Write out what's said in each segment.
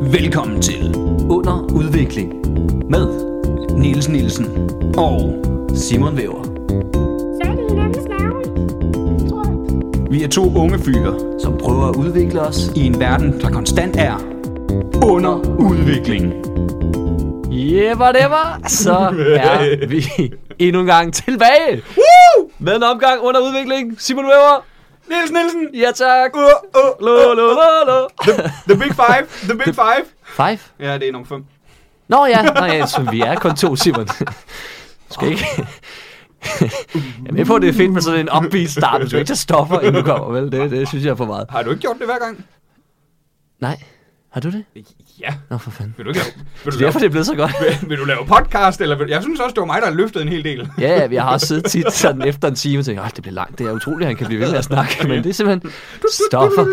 Velkommen til Under udvikling med Niels Nielsen og Simon Væver, Så er det hinandens navn. Tror jeg. vi er to unge fyre som prøver at udvikle os. i en verden, der konstant er under udvikling. Jepper, det var. Så er vi endnu en gang tilbage. Woo! Med en omgang under udvikling. Simon Væver. Niels Nielsen! Ja tak. Uh, uh, Lo, lo, lo, lo. The, the big five! The big five! Five. Ja, det er nummer fem. Nå ja, Nå, ja så vi er kun to, Simon. Skal ikke... Jeg er med på, at det er fedt med sådan en upbeat start, men du skal ikke tage stoffer, inden du kommer, vel? Det, det synes jeg er for meget. Har du ikke gjort det hver gang? Nej, har du det? Ja. Nå, for fanden. Vil du ikke lave, vil du Det er lave, derfor, det er blevet så godt. vil, vil du lave podcast? Eller vil, jeg synes også, det var mig, der løftede en hel del. Ja, ja, jeg har også siddet tit sådan efter en time og tænkt, "Åh, det bliver langt, det er utroligt, han kan blive ved med at snakke, men det er simpelthen stoffer.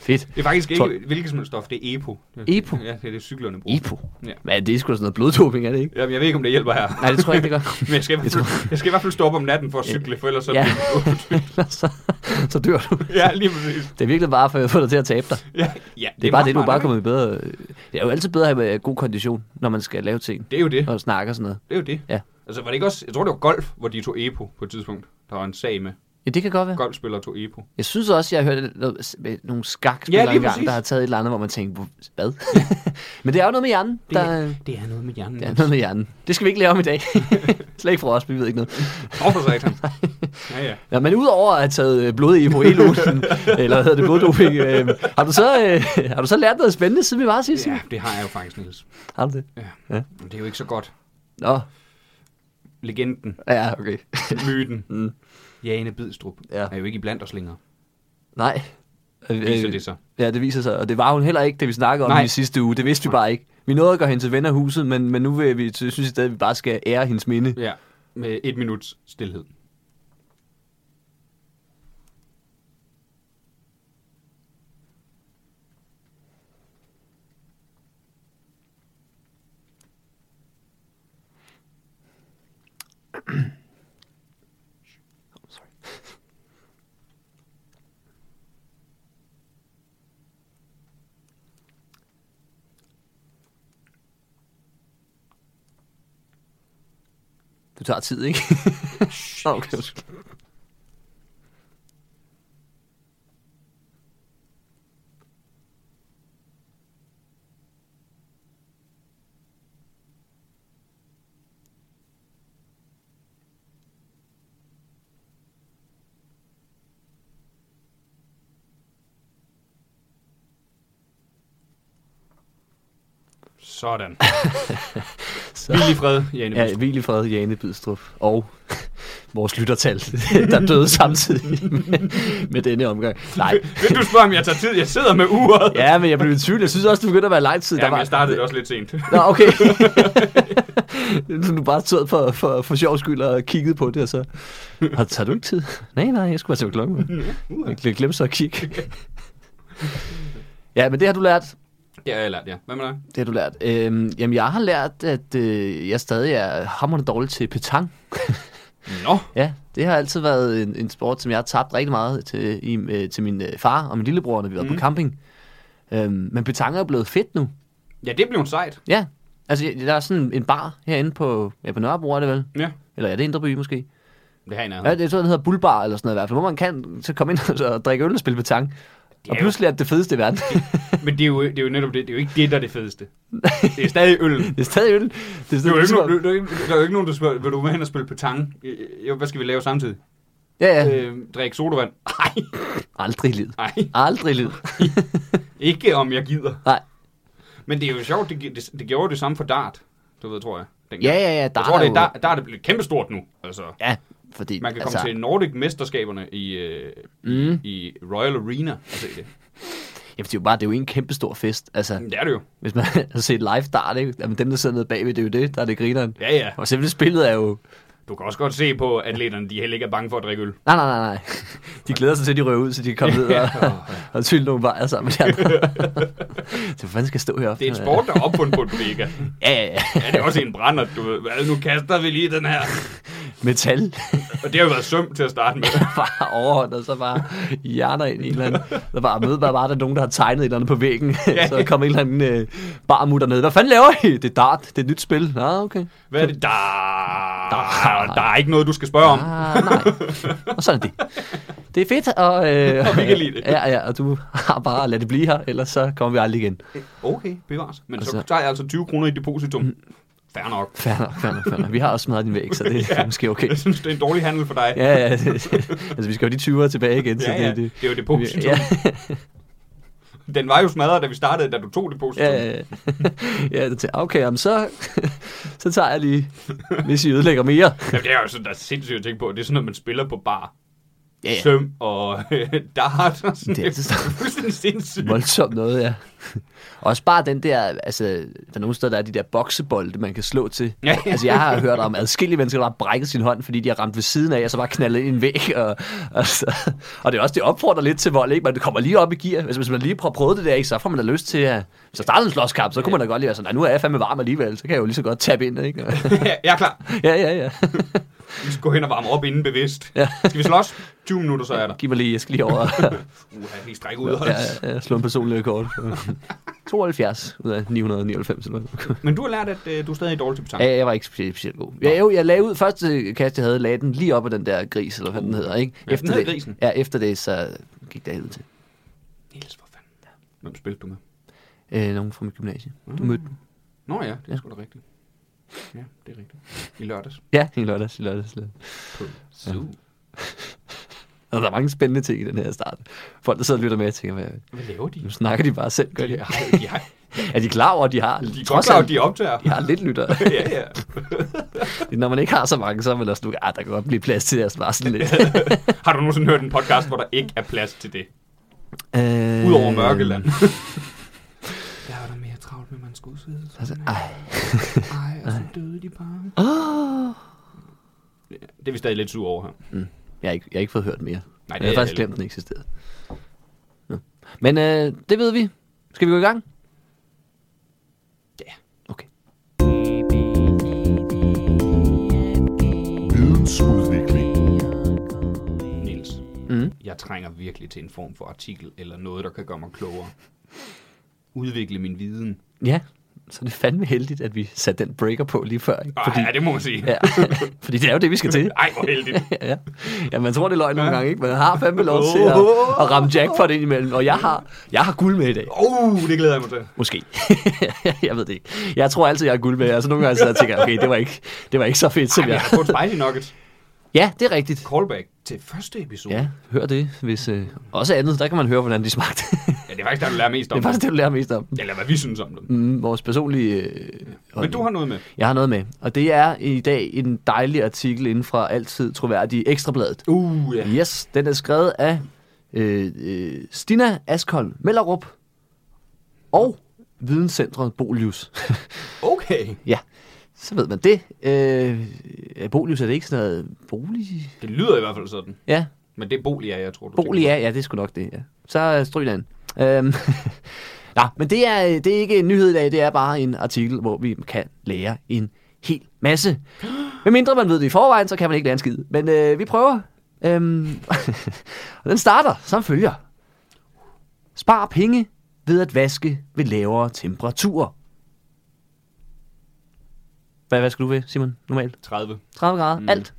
Fedt. Det er faktisk Tror- ikke hvilket som helst stof, det er E EPO. Epo? Ja, det er det cyklerne bruger. Epo. Ja. Hvad, det er sgu da sådan noget bloddoping, er det ikke? Jamen, jeg ved ikke, om det hjælper her. Nej, det tror jeg ikke, det gør. Men jeg skal, i hvert fald, jeg skal i hvert fald stå op om natten for at cykle, for ellers så Ja. bliver det ondt. så, så dør du. Ja, lige præcis. Det er virkelig bare for at få dig til at tabe dig. Ja, ja, Det er bare det, du er meget smart, bare kommet i bedre... Det er jo altid bedre at have øh, god kondition, når man skal lave ting ikke? Det er jo det. og snakke og sådan noget. Det er jo det. Ja. Altså, var det ikke også... Jeg tror, det var golf, hvor de tog EPO på et tidspunkt. Der var en sag med. Ja, det kan godt være. Golfspillere tog EPO. Jeg synes også, jeg har hørt noget, med nogle skakspillere Ja, ja, lige engang, præcis. der har taget et eller andet, hvor man tænkte, "Hvor- hvad? Men det er jo noget med hjernen. Det, Der, det er noget med hjernen. det er noget med hjernen. Det skal vi ikke lave om i dag. Slet ikke for os, vi ved ikke noget. Hvorfor sagde han? Ja, ja. Ja, men udover at have taget øh, blod i moelosen, eller hvad hedder det, bloddoping, øh, har, du så, øh, har du så lært noget spændende, siden vi var sidst? Ja, Ja. det har jeg jo faktisk, Niels. Har du det? Ja. Ligesom- Ja. Men Det er jo ikke så godt. Nå, Legenden, ja, okay. myten, Mm. Jane Bidstrup, Ja. er jo ikke iblandt os længere. Nej. Øh, Viser det sig. Ja, det viser sig. Og det var hun heller ikke, det vi snakkede om Nej. Nej. i sidste uge. Det vidste vi bare ikke. Vi nåede at gøre hende til ven af huset, men, men nu vil vi, så synes jeg stadig, at vi bare skal ære hendes minde. Ja, med et minuts stillhed. Du tager tid, ikke? Nå, okay, undskyld. Sådan. Så- Vild i fred, Jane Ja, Bidstrup. hvil i fred, Jane Bidstrup. Og vores lyttertal, der døde samtidig med, med denne omgang. Nej. Vil du spørge, om jeg tager tid? Jeg sidder med uret. Ja, men jeg blev i tvivl. Jeg synes også, du begyndte at være lang tid. Ja, men jeg startede det også lidt sent. Nå, okay. Så du bare stod for, for, for sjov skyld og kiggede på det, og så... Har, tager du ikke tid? Nej, nej, jeg skulle bare tage klokken. Jeg gl- glemte så at kigge. Ja, men det har du lært. Det har jeg lært, ja. Hvad med dig? Det har du lært. Øhm, jamen, jeg har lært, at øh, jeg stadig er hammerende dårlig til petang. Nå, Ja, det har altid været en, en sport, som jeg har tabt rigtig meget til, i, øh, til min øh, far og min lillebror, når vi var mm. på camping. Øhm, men petanque er blevet fedt nu. ja, det blev en sejt. Ja, altså jeg- der er sådan en bar herinde på, ja, på Nørrebro, er det vel? Ja, Eller er det Indreby måske? det har jeg nærheden. Ja, det jeg tror, den hedder Bullbar eller sådan noget i hvert fald, hvor man kan så komme ind og drikke øl og spille petanque. Det er Og jo- pludselig er det det fedeste i verden. Men det er, jo, det er jo netop det. Det er jo ikke det, der er det fedeste. Det er stadig øl. det er stadig øl. Det er ligesom Der er jo stadig ikke nogen, der, er ikke- der er jo ikke nogen, der spørger, vil du med hen og spille petang? øh, Jo, hvad skal vi lave samtidig? Ja, ja. Øh, drik sodavand? Nej, Aldrig i livet. nej. Aldrig i livet. Ikke om jeg gider. Nej. Men det er jo sjovt, det, gi- det, det gjorde det samme for dart. Du ved, tror jeg. Dengang. Ja, ja, ja. jeg tror, det er, der, der er det blevet kæmpestort nu. Altså, Ja, fordi... altså, man kan komme til Nordic-mesterskaberne i, øh, Mm. i Royal Arena. Altså, det, Jamen, det er jo bare det er jo en kæmpe stor fest. Altså, det er det jo. Hvis man har set live start, ikke? Jamen, dem, der sidder nede bagved, det er jo det, der er det grineren. Ja, ja. Og selvfølgelig spillet er jo... Du kan også godt se på atleterne, de heller ikke er bange for at drikke øl. Nej, nej, nej, nej. De glæder sig til, at de røver ud, så de kan komme ned og, og tylde nogle vejer sammen med de andre. så hvor fanden skal jeg stå heroppe? Det er en sport, der er opfundet på en kollega. Ja, ja, ja. Ja, det er også en brænder, du ved. Hvad, nu kaster vi lige den her. metal Og det har jo været søm til at starte med. bare overhånd, og så bare hjerner ind i en eller anden. Der bare møder bare, bare der er nogen, der har tegnet et eller andet på væggen. så der kommer en eller anden øh, barmutter ned. Hvad fanden laver I? Det er dart. Det er et nyt spil. Ah, okay. Hvad er det? Der, der, der er ikke noget, du skal spørge om. Ah, nej. Og sådan er det. Det er fedt, og, øh, Og vi kan lide det. Ja, ja, og du har bare at lade det blive her, ellers så kommer vi aldrig igen. Okay, bevares. Men så Altså- tager jeg altså 20 kroner i depositum. Fair nok. Fair nok, fair nok, fair nok. Vi har også smadret din væg, så det er måske okay. Jeg synes, det er en dårlig handel for dig. Ja, ja, det, altså vi skal jo de 20'ere tilbage igen, så Ja, ja, det, det, det er jo depositum. Ja, Den var jo smadret, da vi startede, da du tog depositum. ja, ja, ja. ja det, okay, jamen så, så tager jeg lige, hvis I ødelægger mere. Jamen, det er jo sådan, der er sindssygt at tænke på. Det er sådan noget, man spiller på bar. Ja, ja. Søm og øh, dart og sådan Det er noget. Det altid er fuldstændig sindssygt. Voldsomt noget, ja. Også bare den der, altså, der er nogle steder, der er de der boksebolde, man kan slå til. Ja. Altså, jeg har hørt om adskillige mennesker, der har brækket sin hånd, fordi de har ramt ved siden af, og så bare knaldet ind i en væg. Og, og, så, og det er også, det opfordrer lidt til vold, ikke? Men det kommer lige op i gear. Altså, hvis man lige prøver prøvet det der, ikke? Så får man da lyst til at... Hvis der startede en slåskamp, så kunne man da godt lige være sådan, "Nej, nu er jeg fandme varm alligevel, så kan jeg jo lige så godt tabe ind, ikke? Ja, jeg er klar. ja, ja, ja. Vi skal gå hen og varme op inden bevidst. Ja. Skal vi slås? 20 minutter, så er jeg der. Giv mig lige, jeg skal lige over og Uha, jeg kan ikke strække ud. ja, Ja. ja, slå en personlig rekord. 72 ud af 999 eller hvad. Men du har lært, at øh, du er stadig er dårlig til betank. Ja, jeg var ikke specielt, specielt god. Jeg, jo, jeg lagde ud første kast, jeg havde, lagde den lige op af den der gris, eller hvad den hedder, ikke? Uh. Ja, den hedder det, grisen. Ja, efter det, så gik det helvede til. Niels, hvor fanden. Hvem spilte du med? Øh, nogen fra mit gymnasie. Uh. Du mødte dem. Nå ja, det er Ja. sgu da rigtigt. Ja, det er rigtigt. I lørdags. Ja, i lørdags, i lørdags. i lørdags. På Zoo. Og der er mange spændende ting i den her start. Folk, der sidder og lytter med, jeg tænker, hvad, Hvad laver de? nu snakker de bare selv, gør de? De har, de har, Er de klar over, at de har? de er godt trods klar, over, alt- at de optager. de har lidt lytter. ja, ja. Når man ikke har så mange, så er man også nu, ah, der kan godt blive plads til at svare sådan lidt. Har du nogensinde hørt en podcast, hvor der ikke er plads til det? øh, Udover Mørkeland. Øhm. Der var der mere travlt med, man skulle sidde. Altså, ej. Ej, og så døde de bare. Ah. Oh. Det er vi stadig lidt sure over her. Jeg har ikke, jeg har ikke fået hørt mere. Nej, Nej, det det jeg er har faktisk heller glemt, den eksisterede. Nå. Men øh, det ved vi. Skal vi gå i gang? Ja. Okay. Vidensudvikling. Niels, Mm. jeg trænger virkelig til en form for artikel eller noget, der kan gøre mig klogere. Udvikle min viden. Ja, så er det fandme heldigt, at vi satte den breaker på lige før. Ikke? Ej, ja, det må man sige. ja, fordi det er jo det, vi skal til. Ej, hvor heldigt. ja. ja, man tror, det er løgn nogle gange, ikke? Man har fandme lov til at, at ramme jackpot ind imellem. Og jeg har, jeg har guld med i dag. Åh, oh, det glæder jeg mig til. Måske. jeg ved det ikke. Jeg tror altid, jeg har guld med. Altså nogle gange sidder jeg og tænker, okay, det var ikke, det var ikke så fedt, Ej, som vi jeg... har fået Spicy Nuggets Ja, det er rigtigt. callback til første episode. Ja, hør det. Hvis, øh, også andet, der kan man høre, hvordan de smagte. ja det er faktisk der, du lærer mest om det er faktisk dem. det, du lærer mest om. Eller hvad vi synes om dem. Mm, vores personlige... Øh, Men holdning. du har noget med. Jeg har noget med. Og det er i dag en dejlig artikel inden fra altid troværdige Ekstrabladet. Uh, ja. Yes, den er skrevet af øh, øh, Stina Askholm Mellerup og Videnscentret Bolius. Okay. ja, så ved man det. Øh, er Bolius er det ikke sådan noget bolig... Det lyder i hvert fald sådan. Ja, Men det er Bolia, jeg tror, du Bolig tænker ja, ja, det er sgu nok det, ja. Så øh, stryg den. Øhm, Nå, men det er, øh, det er ikke en nyhed i dag, det er bare en artikel, hvor vi kan lære en hel masse. Med mindre man ved det i forvejen, så kan man ikke lære en skid. Men øh, vi prøver. Øhm, og den starter som følger. Spar penge ved at vaske ved lavere temperaturer. Hvad vasker du ved, Simon, normalt? på. 30. 30 grader? Mm. Alt?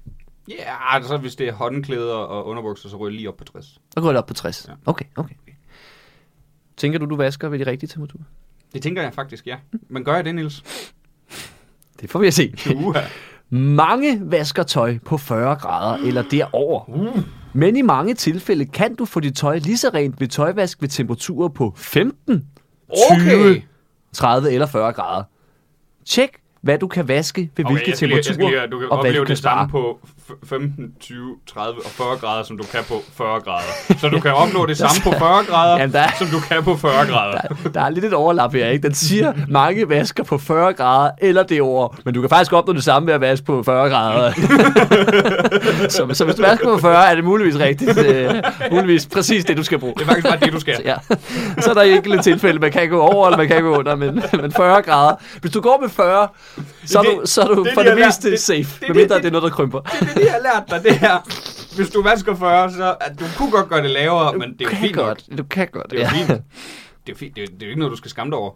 Ja, yeah, altså hvis det er håndklæder og underbukser, så ryger jeg lige op på 60. Og går det op på 60? Ja. Okay, okay. okay. Tænker du, du vasker ved de rigtige temperaturer? Det tænker jeg faktisk, ja. Men gør jeg det, Niels? Det får vi at se. Uha. Mange vasker tøj på 40 grader eller derover. Uh. Men i mange tilfælde kan du få dit tøj lige så rent ved tøjvask ved temperaturer på 15, 20, 30 eller 40 grader. Tjek, hvad du kan vaske ved hvilke jeg skal lige- jeg skal temperaturer, lige høre, du kan og hvad opleve du kan det samme spare. på f- 15, 20, 30 og 40 grader, som du kan på 40 grader. Så du kan opnå det samme på 40 grader, Jamen, der er- som du kan på 40 grader. Der er lidt et overlap her, ikke? Den siger, mange vasker på 40 grader eller derover, men du kan faktisk opnå det samme ved at vaske på 40 grader. så, så hvis du vasker på 40, er det muligvis rigtigt. Øh, muligvis præcis det, du skal bruge. Det er faktisk bare det, du skal. Ja. Så er der enkelte tilfælde, man kan gå over, eller man kan gå under, men, men 40 grader. Hvis du går med 40, så er Det- du, så er du det, for de det har lært- meste det- det- safe, det- medmindre det- det er noget, der krymper. Det er det, jeg har lært dig, det her. Hvis du vasker 40, så at du kunne godt gøre det lavere, men det er Du jo kan fint nok. godt, du kan godt. Det er jo ja. fint. Det er, jo fint. Det, er, det er jo ikke noget, du skal skamme dig over.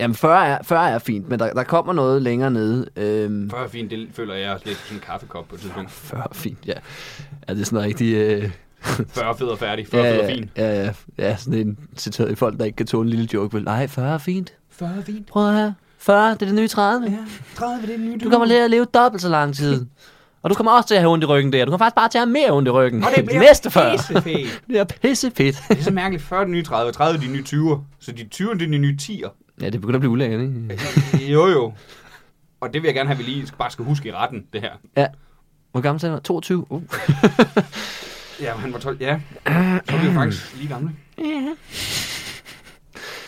Jamen, 40 er, 40 er fint, men der, der kommer noget længere nede. Øhm, 40 er fint, det føler jeg lidt som en kaffekop på et tidspunkt. 40 er fint, ja. Er det sådan en rigtig... Øh, 40 fed og færdig, 40 fed ja, og ja, fint. ja, ja, ja, sådan en citeret i folk, der ikke kan tåle en lille joke. Vel, nej, 40 er fint. 40 er fint. Prøv at høre. 40, det er det nye 30. Ja. 30 er det nye, Du kommer til at leve dobbelt så lang tid. Og du kommer også til at have ondt i ryggen der. Du kommer faktisk bare til at have mere ondt i ryggen. Og det De bliver næste 40. pissefedt. Det er pissefedt. Det er så mærkeligt. 40 er de nye 30, 30 er de nye 20'er. Så de 20 er de nye 10'er. Ja, det begynder at blive ulækkert, ikke? Jo jo. Og det vil jeg gerne have, at vi lige bare skal huske i retten, det her. Ja. Hvor gammel sagde han? 22? Uh. Ja, han var 12. Ja. Så er vi jo faktisk lige gamle. Ja.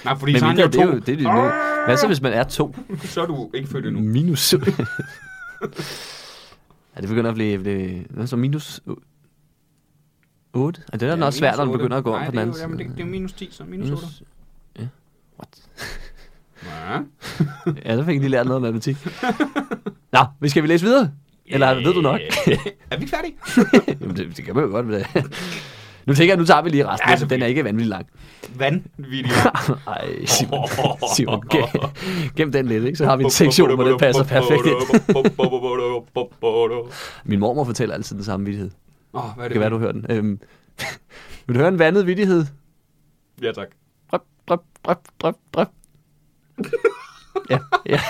Nej, fordi Men så er han mindre, jo det er to. jo det, er jo nu. Hvad så, hvis man er to? Så er du ikke født endnu. Minus. ja, det begynder at blive... blive hvad så minus 8? Ja, det er da også svært, når den minus otte. begynder at gå om Nej, på den anden det er jo- Jamen, det, det er jo minus 10, så minus 8. Minus- ja. What? Ja. Ja, der fik jeg lige lært noget om matematik. Nå, men skal vi læse videre? Eller ved du nok? er vi ikke færdige? Jamen, det, det kan man jo godt. Men det. Nu tænker jeg, nu tager vi lige resten. Ja, Ja, den er selvfølgelig. ikke vanvittig lang. Vandvideo. Ej, Simon, Simon gem, gem den lidt, ikke? Så har vi en sektion, hvor den passer perfekt ind. Åh, Min mormor fortæller altid den samme vittighed. Det hvad er det? kan være, du hører den. Øhm, vil du høre en vandet vittighed? Ja, tak. Drøb, drøb, drøb, drøb, drøb. ja, ja.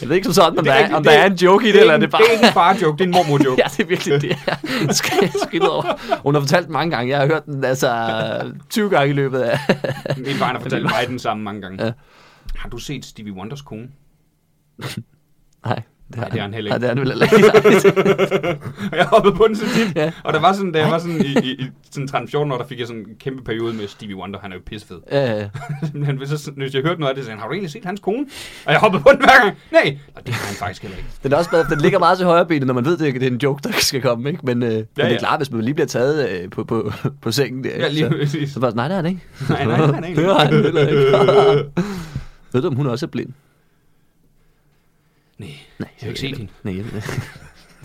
Jeg ved ikke som sådan, om, Det der er er, rigtigt, om der det- er en joke i det, Det er eller er ikke- det bare... Det er ikke en far-joke, det er en mormor-joke. Ja, det er virkelig det. Jeg skal skridt over. Hun har fortalt den mange gange. Jeg har hørt den altså 20 gange i løbet af... Min far har fortalt mig den samme mange gange. Ja. Har du set Stevie Wonders kone? Nej, det har, det er han heller ikke. Nej, det er han vel heller ikke. Og jeg hoppede på den så tit. Ja. Og der var sådan, da jeg var sådan i, i, i sådan 13-14 år, der fik jeg sådan en kæmpe periode med Stevie Wonder. Han er jo pissefed. Ja, ja. Men hvis, jeg, hvis jeg hørte noget af det, så sagde han, har du egentlig set hans kone? Og jeg hoppede på den hver gang. Nej, og det har han faktisk heller ikke. Den, er også, bedre, for den ligger meget til højre benet, når man ved, det, det er en joke, der skal komme. Ikke? Men, øh, ja, men det ja. er klart, hvis man lige bliver taget øh, på, på, på sengen der, Ja, lige så, præcis. så bare, sådan, nej, det er han ikke. Nej, nej, nej, nej. Det er han heller ikke. ved du, om hun også er blind? Nej, jeg har ikke set hende. Nej, jeg ved det.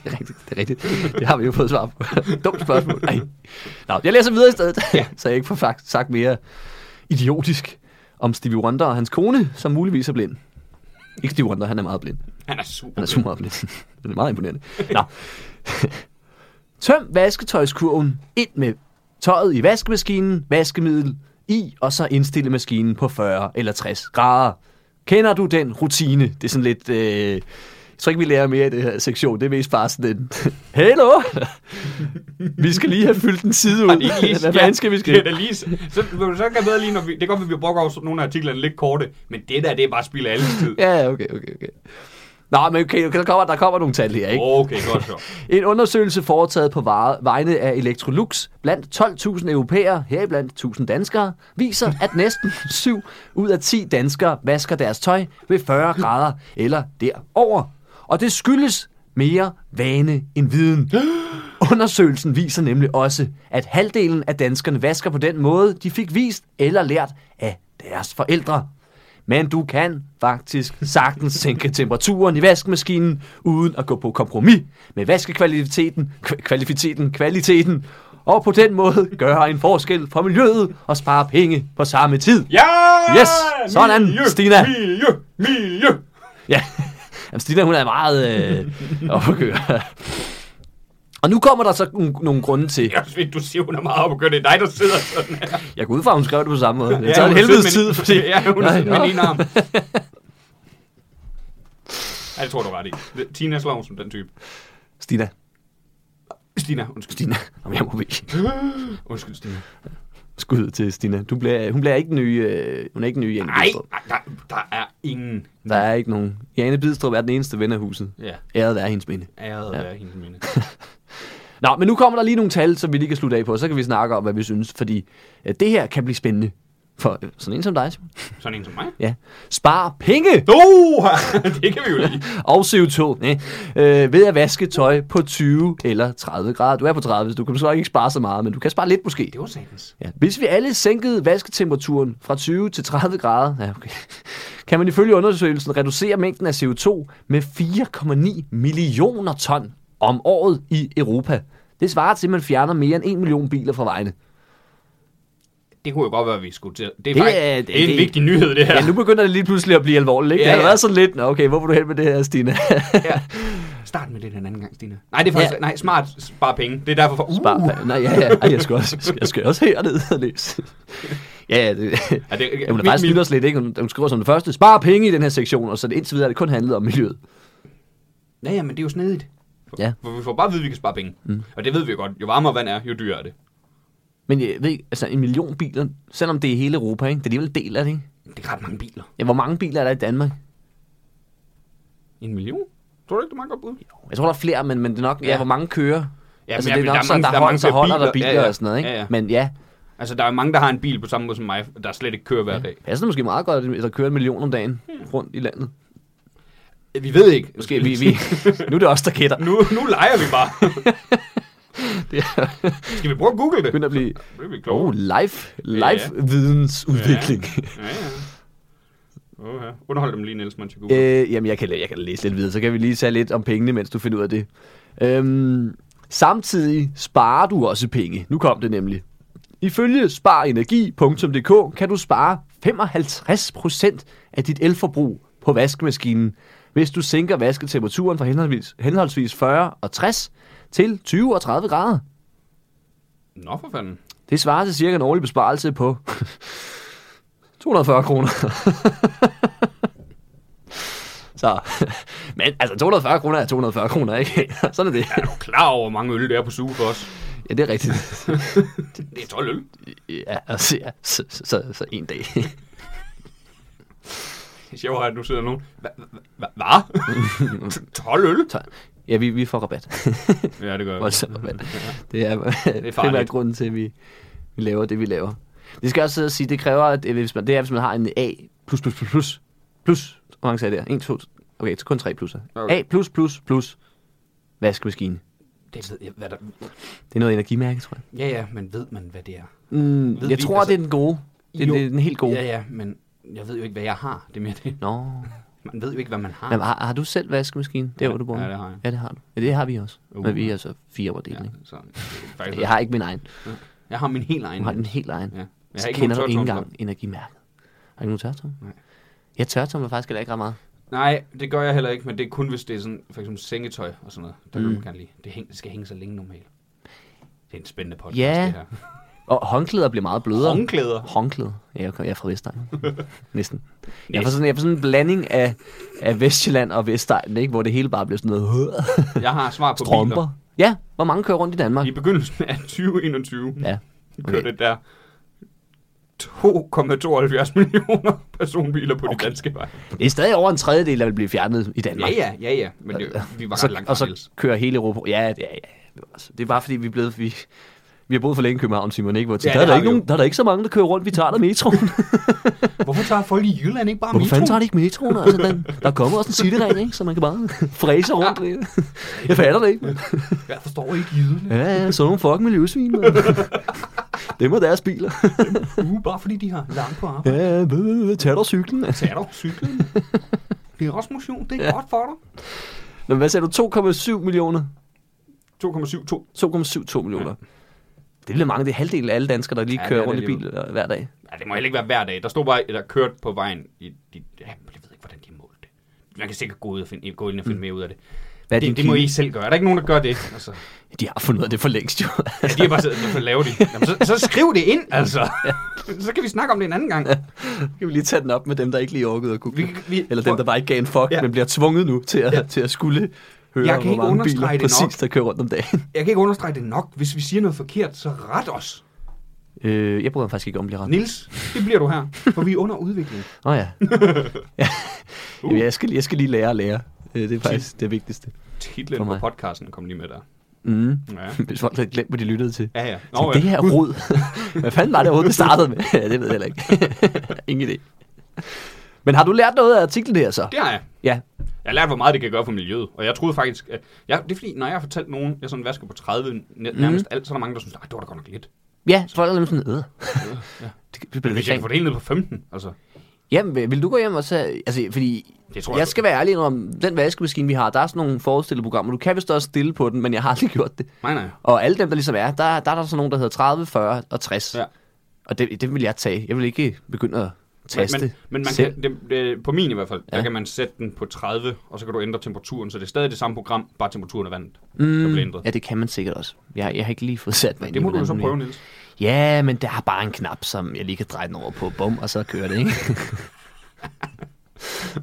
Det er rigtigt, det er rigtigt. Det har vi jo fået svar på. Dumt spørgsmål. Ej. Nå, jeg læser videre i stedet, ja. så jeg ikke får fakt- sagt mere idiotisk om Stevie Wonder og hans kone, som muligvis er blind. Ikke Stevie Wonder, han er meget blind. Han er super. Han er super meget blind. Det er meget imponerende. Nå. Tøm vasketøjskurven ind med tøjet i vaskemaskinen, vaskemiddel i, og så indstille maskinen på 40 eller 60 grader. Kender du den rutine? Det er sådan lidt... Øh, jeg tror ikke, vi lærer mere i det her sektion. Det er mest bare sådan en... Hallo! vi skal lige have fyldt en side Har ud. de ikke lige- Hvad ja, fanden skal vi Det er da skrive? lige, så, så kan jeg bedre lige, når vi, det kan godt, at vi brokker over nogle af artiklerne lidt korte, men det der, det er bare spild af alle tid. Ja, ja, okay, okay, okay. Nå, men okay, der kommer, der kommer nogle tal her, ikke? Okay, godt så. En undersøgelse foretaget på vare, vegne af Electrolux blandt 12.000 europæere, heriblandt 1.000 danskere, viser, at næsten 7 ud af 10 danskere vasker deres tøj ved 40 grader eller derover. Og det skyldes mere vane end viden. Undersøgelsen viser nemlig også, at halvdelen af danskerne vasker på den måde, de fik vist eller lært af deres forældre. Men du kan faktisk sagtens sænke temperaturen i vaskemaskinen, uden at gå på kompromis med vaskekvaliteten, kv- kvaliteten, kvaliteten, og på den måde gøre en forskel for miljøet og spare penge på samme tid. Ja! Yes! Sådan, Stina. Miljø! Miljø! Ja, Jamen, Stina hun er meget øh, op at køre. Og nu kommer der så nogle, nogle grunde til. Jeg synes, du siger, hun er meget opgørende. Det er dig, der sidder sådan her. Jeg går ud fra, at hun skrev det på samme måde. Det Ja, tager hun en er helvedes sød, men- tid, fordi... Ja, hun er Nej, sød med nå. en arm. Ja, det tror jeg, du er ret i. Det- Tina slår som den type. Stina, Stina, undskyld. Stina, om jeg må ikke. Undskyld, Stina. Skud til Stina. Du bliver, hun bliver ikke den nye, øh, hun er ikke den nye Jane Nej, Bidstrup. nej, der, der er ingen Der er ikke nogen. Jane Bidstrup er den eneste ven af huset. Ja. Æret være hendes minde. æret ja. af hendes minde. Nå, men nu kommer der lige nogle tal, som vi lige kan slutte af på, og så kan vi snakke om, hvad vi synes, fordi øh, det her kan blive spændende. for øh, sådan en som dig, Simon. Sådan en som mig. Ja. Spar penge Uh, det kan vi jo lide. og CO2 ne? øh, ved at vaske tøj på 20 eller 30 grader. Du er på 30, så du kan måske nok ikke spare så meget, men du kan spare lidt måske. Det var satans. Ja. Hvis vi alle sænkede vasketemperaturen fra 20 til 30 grader, ja, okay, kan man ifølge undersøgelsen reducere mængden af CO2 med 4,9 millioner ton om året i Europa. Det svarer til, at man fjerner mere end 1 million biler fra vejene. Det kunne jo godt være, at vi skulle til. Det er, Det det, faktisk, er- det, det er en det- vigtig nyhed, det her. Ja, nu begynder det lige pludselig at blive alvorligt, ikke? Ja, Ja, ja. Det har ja. været sådan lidt, Nå, okay, hvor vil du hen med det her, Stine? ja. Start med det den anden gang, Stine. Nej, det er faktisk... Ja. Nej, smart. Spar penge. Det er derfor... For, uh, Bare, uh. Nej, ja, ja, Ej, jeg skal også, jeg skal også herned og læse. Ja, ja, det, Ja, det, ja, hun har faktisk lyttet os lidt, ikke? Hun, hun skriver som det første, spare penge i den her sektion, og så det, indtil videre har det kun handlet om miljøet. Ja, ja, men det er jo snedigt. For, Ja. for vi får bare at vide, at vi kan spare penge. Mm. Og det ved vi jo godt. Jo varmere vand er, jo dyrere er det. Men jeg ved ikke, altså en million biler, selvom det er hele Europa, ikke? det er alligevel en del af det. Ikke? Det er ret mange biler. Ja, hvor mange biler er der i Danmark? En million? Tror du ikke, det er meget godt bud? Jeg tror, der er flere, men, men det er nok, ja, Ja. hvor mange kører. Ja, Ja, altså, men det er jeg- nok der er så, mange- der, der er der, mange der holder biler. der biler Ja, ja. og sådan noget. Ikke? Ja, ja. Men ja, Altså, der er jo mange, der har en bil på samme måde som mig, der slet ikke kører hver dag. passer det måske meget godt, at der kører en million om dagen rundt i landet. Vi ved ikke. Måske vi, vi, nu er det os, der gætter. Nu, nu leger vi bare. Det er Skal vi prøve at google det? begyndt at blive Så bliver vi klogere. oh, life, life Ja. vidensudvikling. Ja, ja. Oh, ja. Underhold dem lige, Niels Montagu. Øh. Øh, jamen, jeg kan, la- jeg kan læse lidt videre, så kan vi lige tage lidt om pengene, mens du finder ud af det. Øhm, samtidig sparer du også penge. Nu kom det nemlig. Ifølge sparenergi.dk kan du spare 55% af dit elforbrug på vaskemaskinen, hvis du sænker vasketemperaturen fra henholdsvis, henholdsvis 40 og 60 til 20 og 30 grader. Nå, for fanden. Det svarer til cirka en årlig besparelse på 240 kroner. Så, men altså 240 kroner er 240 kroner, ikke? Sådan er det. Jeg er jo klar over, hvor mange øl der er på suge for os. Ja, det er rigtigt. Det er 12 øl. Ja, altså, ja, så, så, så, så en dag. Det er sjovt, at nu sidder nogen. Hva- hva- hva- Hvad? 12 øl? Så, ja, vi, vi får rabat. Ja, det gør jeg. Voldsom rabat. Det er, det er primært farligt. grunden til, at vi, vi laver det, vi laver. Det skal jeg også sidde og sige, det kræver, at hvis man, det er, hvis man har en A plus plus plus plus plus. Hvor mange sagde jeg der? 1, 2, okay, så kun tre plusser. Okay. A plus plus plus vaskemaskine. Det ved jeg, hvad der... Det er noget energimærke, tror jeg. Ja, ja, men ved man, hvad det er? Mm, Ved jeg vi- tror, altså- det er den gode. Det er, Jo. det er den helt gode. Ja, ja, men jeg ved jo ikke, hvad jeg har. Det er mere det. Nå. Man ved jo ikke, hvad man har. Jamen, har, har, du selv vaskemaskine? Det Ah. Ja, er, hvor du bor. ja, nu? det har jeg. Ja, det har du. Ja, det har vi også. Uh. Men vi er så fire overdelen, ikke? så, det er faktisk, Altså, Jeg har ikke min egen. jeg har min helt egen. Du har den helt egen. Ja. Jeg Jeg har så ikke kender du nogen ikke tørretumbler. engang energimærket. Har du ikke nogen tørretumbler? Nej. Jeg tørretumbler faktisk heller ikke ret meget. Nej, det gør jeg heller ikke, men det er kun, hvis det er sådan, for eksempel sengetøj og sådan noget. Der mm. kan man gerne lide. Det, hæng, det skal hænge så længe normalt. Det er en spændende podcast, Ja. det her. Og håndklæder bliver meget blødere. Håndklæder? Håndklæder. Ja, jeg kom- jeg er fra Vestegn. Næsten. Jeg er fra sådan, jeg er fra sådan en blanding af, af Vestjylland og Vestegn, ikke? hvor det hele bare bliver sådan noget Jeg har svar på biler. strømper. Ja, hvor mange kører rundt i Danmark? I begyndelsen af 2021 ja. Ja. okay. kørte der 2,72 millioner personbiler på okay. de danske veje. Det er stadig over en tredjedel, der vil blive fjernet i Danmark. Ja, ja, ja, ja. Men det, vi var ret så, langt fra, og Niels. så kører hele Europa. Ja, ja, ja. Altså, Det er bare fordi, vi er blevet... Vi, vi har boet for længe i København, Simon, ikke? Hvor ja, Ja, der, er det der, har ikke vi jo. nogen, der er der ikke så mange, der kører rundt. Vi tager der metroen. Hvorfor tager folk i Jylland ikke bare Hvorfor fanden tager metroen? de ikke metroen? Altså, den, der kommer også en cityring, ikke? Så man kan bare fræse rundt. i det. Jeg fatter det ikke. men- Jeg forstår ikke Jylland. Ja, ja, sådan nogle fucking miljøsvin, man. Det må deres biler. Uh, bare fordi de har langt på arbejde. Ja, ja, tag dig cyklen. altså. Tag dig cyklen. Det er også motion. Det er ja. godt for dig. Nå, hvad sagde du? 2,7 millioner? 2,72. 2,72 millioner. Det er lidt mange. Det er halvdelen af alle danskere, der lige Ja, det kører er rundt i det bil hver dag. Ja, det må heller ikke være hver dag. Der stod bare, eller kørt på vejen. I, de, ja, jeg ved ikke, hvordan de har målt det. Man kan sikkert gå, ud og finde, gå ind og finde mere ud af det. Hvad er Mm. din Det, det må kilde? I selv gøre. Er der ikke nogen, der gør det? Altså, De har fundet ud af det for længst, jo. ja, de har bare siddet, hvorfor laver de? Jamen, så, så skriv det ind, altså. Så kan vi snakke om det en anden gang. Kan vi lige tage den op med dem, der ikke lige orkede at google? Vi- vi- Eller dem, der bare ikke gav en fuck, ja. Ja. men bliver tvunget nu til at, ja. til at skulle høre, Jeg kan hvor ikke mange biler understrege det præcis, nok. der kører rundt om dagen. Jeg kan ikke understrege det nok. Hvis vi siger noget forkert, så ret os. Øh, jeg bryder mig faktisk ikke om at blive ret. Nils, det bliver du her, for vi er under udvikling. Åh oh, ja. ja. Uh. Jamen, jeg, skal, jeg skal lige lære at lære. Øh, Det er faktisk det vigtigste. Titlen For på mig. podcasten kom lige med der. Mm. Ja, Hvis folk havde glemt, hvad de lyttede til. ja. ja. Så Nå, det ja. her rod. Hvad fanden var det rod, det startede med? ja, det ved jeg heller ikke. Ingen idé. Men har du lært noget af artiklen her så? det har jeg. Ja. Jeg har lært, hvor meget det kan gøre for miljøet. Og jeg troede faktisk... At jeg, det er fordi, når jeg har fortalt nogen, jeg sådan vasker på 30 næ- nærmest mm. alt, så er der mange, der synes, at det var da godt nok lidt. Ja, folk er nemlig sådan, øh. Ja. Det, det Men bliver hvis lidt jeg kan rent. få det hele ned på 15, altså... Jamen, vil vil du gå hjem og så... Altså, fordi... Det tror jeg jeg på. skal være ærlig om, den vaskemaskine, vi har, der er sådan nogle forestillede programmer. Du kan vist også stille på den, men jeg har aldrig gjort det. Nej, nej. Og alle dem, der ligesom er, der, der er der sådan nogen, der hedder 30, 40 og 60. Ja. Og det, det vil jeg tage. Jeg vil ikke begynde at taste Men, men, men man selv. kan, det, det, på min i hvert fald, ja. Ja. der kan man sætte den på 30, og så kan du ændre temperaturen, så det er stadig det samme program, bare temperaturen er vandet, mm. der bliver ændret. Ja, det kan man sikkert også. Jeg, jeg har ikke lige fået sat mig ind Det i, må du jo hvordan så den prøve, er. Niels. Ja, men der er bare en knap, som jeg lige kan dreje den over på. Bum, og så kører det, ikke?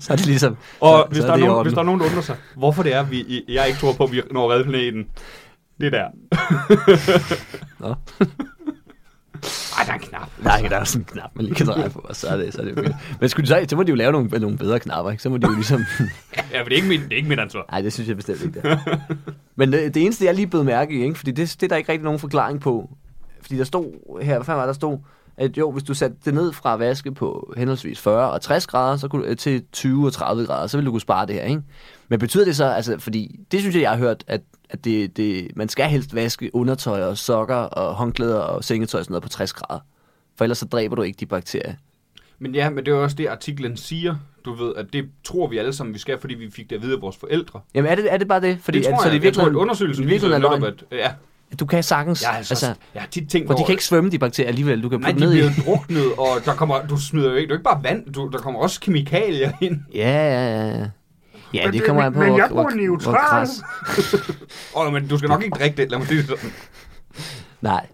så er det ligesom... Og så, hvis, så der er det i nogen, orden. hvis der er nogen, der undrer sig, hvorfor det er, vi, I- jeg ikke tror på, at vi når at redde planeten, det er der. Nå. Ej, der er en knap. Nej, der er sådan en knap, man lige kan dreje på, og så er det, så er det fint. Men skulle de så, så må de jo lave nogle, nogle bedre knapper, ikke? Så må de jo ligesom... Ja, men det er ikke mit, det er ikke mit ansvar. Nej, det synes jeg bestemt ikke, det er. Men øh, det, det eneste, jeg lige blev mærke i, ikke? fordi det, det er der ikke rigtig nogen forklaring på. Fordi der stod her, hvad fanden var der stod, at jo, hvis du satte det ned fra vaske på henholdsvis 40 og 60 grader så kunne, du- til 20 og 30 grader, så ville du kunne spare det her, ikke? Men betyder det så, altså, fordi det synes jeg, jeg har hørt, at, at det, det, man skal helst vaske undertøj og sokker og håndklæder og sengetøj og sådan noget på 60 grader. For ellers så dræber du ikke de bakterier. Men ja, men det er jo også det, artiklen siger. Du ved, at det tror vi alle sammen, vi skal, fordi vi fik det at vide af vores forældre. Jamen er det, er det bare det? Fordi, Det tror at, jeg. det Det i jeg tror, at virkeligheden- undersøgelsen i viser virkeligheden er netop, løgn. at... Ja, Du kan sagtens... jeg har, altså, altså, jeg har tit tænkt For de over- kan ikke svømme, de bakterier alligevel. Du kan Nej, de putte ned i... bliver jo druknet, og der kommer, du smider jo ikke, du er ikke bare vand, du, der kommer også kemikalier ind. Ja, ja, ja. Ja, Men det det- kommer an på, men hvor, jeg hvor, bruger hvor, neutral. kras. Åh, oh, men du skal nok ikke drikke det, lad mig sige det sådan. Nej.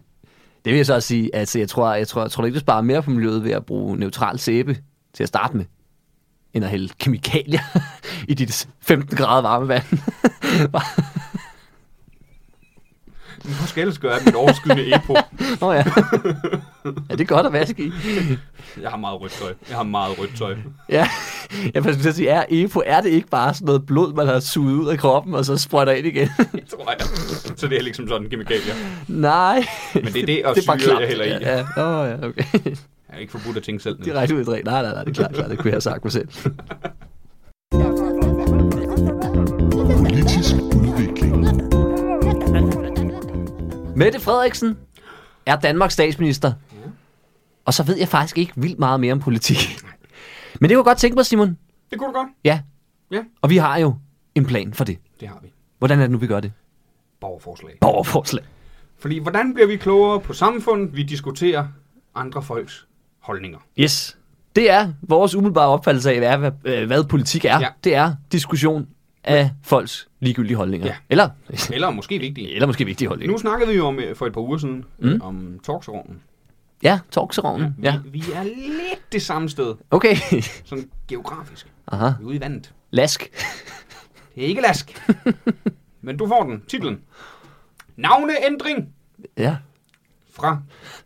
Det vil jeg så også sige, altså jeg tror, jeg tror, jeg tror ikke, du sparer mere på miljøet ved at bruge neutral sæbe til at starte med, end at hælde kemikalier i dit 15 grader varme vand. Men hvor skal jeg ellers gøre af mit overskydende epo? Nå ja. ja, det er godt at vaske i. Jeg har meget rødt tøj. Jeg har meget rødt tøj. Ja, jeg faktisk skulle til at sige, er EPO, er det ikke bare sådan noget blod, man har suget ud af kroppen, og så sprøjter ind igen? Tror jeg. Så det er ligesom sådan kemikalier. Nej. Men det er det, og det er bare syre, jeg klamt. hælder i. Ja, ja. Nå, ja, okay. Jeg er ikke forbudt at tænke selv. Niels. Direkte ud i dræn. Nej, nej, nej, det er klart, klart. Det kunne jeg have sagt mig selv. Politisk udvikling. Mette Frederiksen er Danmarks statsminister. Og så ved jeg faktisk ikke vildt meget mere om politik. Men det kunne jeg godt tænke mig, Simon. Det kunne du godt. Ja. Ja. Og vi har jo en plan for det. Det har vi. Hvordan er det nu, vi gør det? Borgerforslag. Borgerforslag. Fordi hvordan bliver vi klogere på samfundet? Vi diskuterer andre folks holdninger. Yes. Det er vores umiddelbare opfattelse af, hvad, hvad, øh, hvad politik er. Ja. Det er diskussion af folks ligegyldige holdninger. Ja. Eller, Eller måske vigtigt. eller måske vigtige holdninger. Nu snakkede vi jo om, øh, for et par uger siden mm. om talksovnen. Ja, talksovnen. Ja. ja. Vi, vi er lidt det samme sted, Okay. sådan geografisk. Aha. Vi er ude i vandet. Lask. Det er ikke lask. Men du får den. Titlen. Navneændring Ja. fra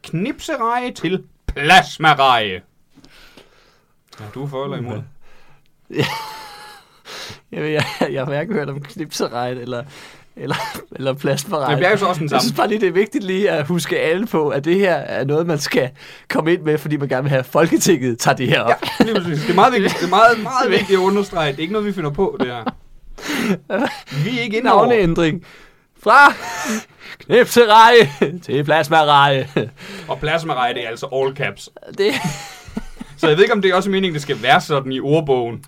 knipsereje til plasmareje. Ja, du er for eller imod? Jamen, jeg, jeg har hverken hørt om knipseregn eller, eller, eller plasmaregn. Men det er jo så også den Jeg samme. synes bare lige, det er vigtigt lige at huske alle på, at det her er noget, man skal komme ind med, fordi man gerne vil have, at Folketinget tager det her op. Ja. Lige præcis. Det er meget vigtigt, det er meget, meget vigtigt at understrege. Det er ikke noget, vi finder på, det her. Vi er ikke inde over. Navneændring fra knipsereje til plasmareje. Og plasmareje, det er altså all caps. Det, Så jeg ved ikke, om det er også meningen, det skal være sådan i ordbogen.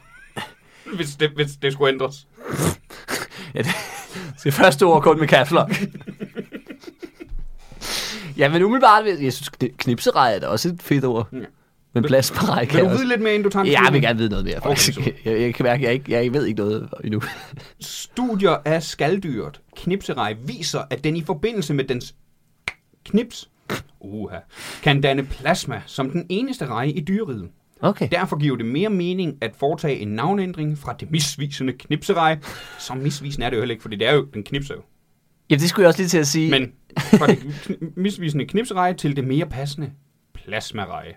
Hvis det, hvis det skulle ændres. ja, det, det første ord kun med caps lock. Ja, men umiddelbart, vil- jeg synes, kni- knipsereje er da også et fedt ord. Ja. Men plasmareje kan Vil du også. vide lidt mere, inden du tager en Ja, jeg beslutning? vil gerne vide noget mere, Okay, faktisk. super. Okay, jeg, jeg kan mærke, jeg, ikke, jeg ved ikke noget endnu. Studier af skalddyret, knipserej, viser, at den i forbindelse med dens knips uha, kan danne plasma som den eneste reje i dyreriget. Okay. Derfor giver det mere mening at foretage en navnændring fra det misvisende knipserej. Så misvisende er det jo heller ikke, fordi det er jo, den knipser jo. Jamen, det skulle jeg også lige til at sige. Men fra det kn- misvisende knipserej til det mere passende plasmareje.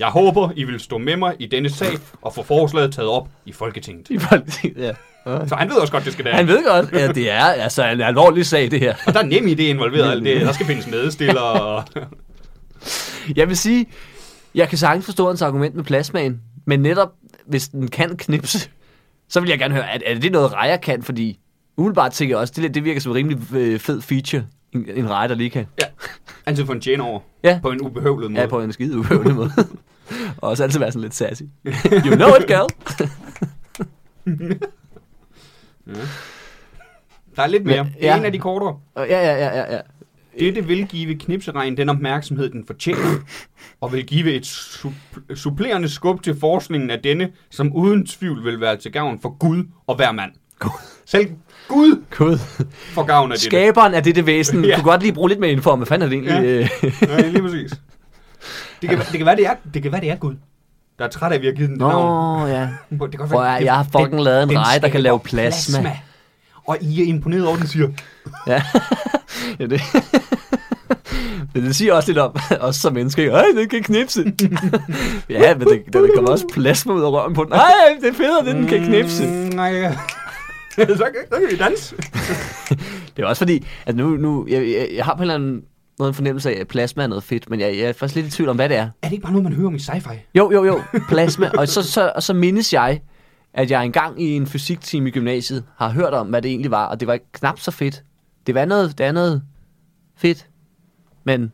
Jeg håber, I vil stå med mig i denne sag og få forslaget taget op i Folketinget. I Folketinget, ja. Så han ved også godt, det skal Han være. ved godt, at det er altså en alvorlig sag, det her. Og der er nem idé involveret i alt det. Der skal findes medstiller og... Jeg vil sige, jeg kan sagtens forstå hans argument med plasmaen, men netop hvis den kan knipse, så vil jeg gerne høre, er, er det noget rejer kan? Fordi umiddelbart tænker jeg også, det, det virker som en rimelig øh, fed feature, en, en rejer, der lige kan. Ja. Altid få en tjene over. Ja. På en ubehøvlet måde. Ja, på en skide ubehøvende måde. Og også altid være sådan lidt sassy. You know it, girl. Der er lidt mere. Det er Ja. en af de kortere. Og Ja, ja, ja, ja, ja. Dette vil give knipseregn den opmærksomhed, den fortjener, og vil give et sup- supplerende skub til forskningen af denne, som uden tvivl vil være til gavn for Gud og hver mand. Selv Gud Gud. får gavn af dette. Skaberen af dette væsen. Ja. Du kunne godt lige bruge lidt mere info om, hvad fanden er det egentlig? Ja. Ja, lige præcis. Det kan, det, kan være, det, er, det kan være, det er Gud. Der er træt af, at vi har givet den Nå, navn. ja. Det kan godt Prøv at, det- jeg har fucking den- lavet en den reje, der kan lave skaber plasma. Og I er imponeret over, at den siger, "Mm, Ja, ja det. men det siger også lidt om os som mennesker. ikke? Ej, den kan knipse. ja, men det, der kommer også plasma ud af røven på den. Ej, det er fedt, at den kan knipse. Mm, nej, ja. så, kan, så kan vi danse. Det er også fordi, at nu, nu jeg, jeg, jeg har på en eller anden måde en fornemmelse af, at plasma er noget fedt, men jeg, jeg er faktisk lidt i tvivl om, hvad det er. Er det ikke bare noget, man hører om i sci-fi? Jo, jo, jo, plasma. og, så, så, og så mindes jeg, at jeg engang i en fysiktime i gymnasiet har hørt om, hvad det egentlig var, og det var ikke knap så fedt. Det var noget, det er noget fedt, men det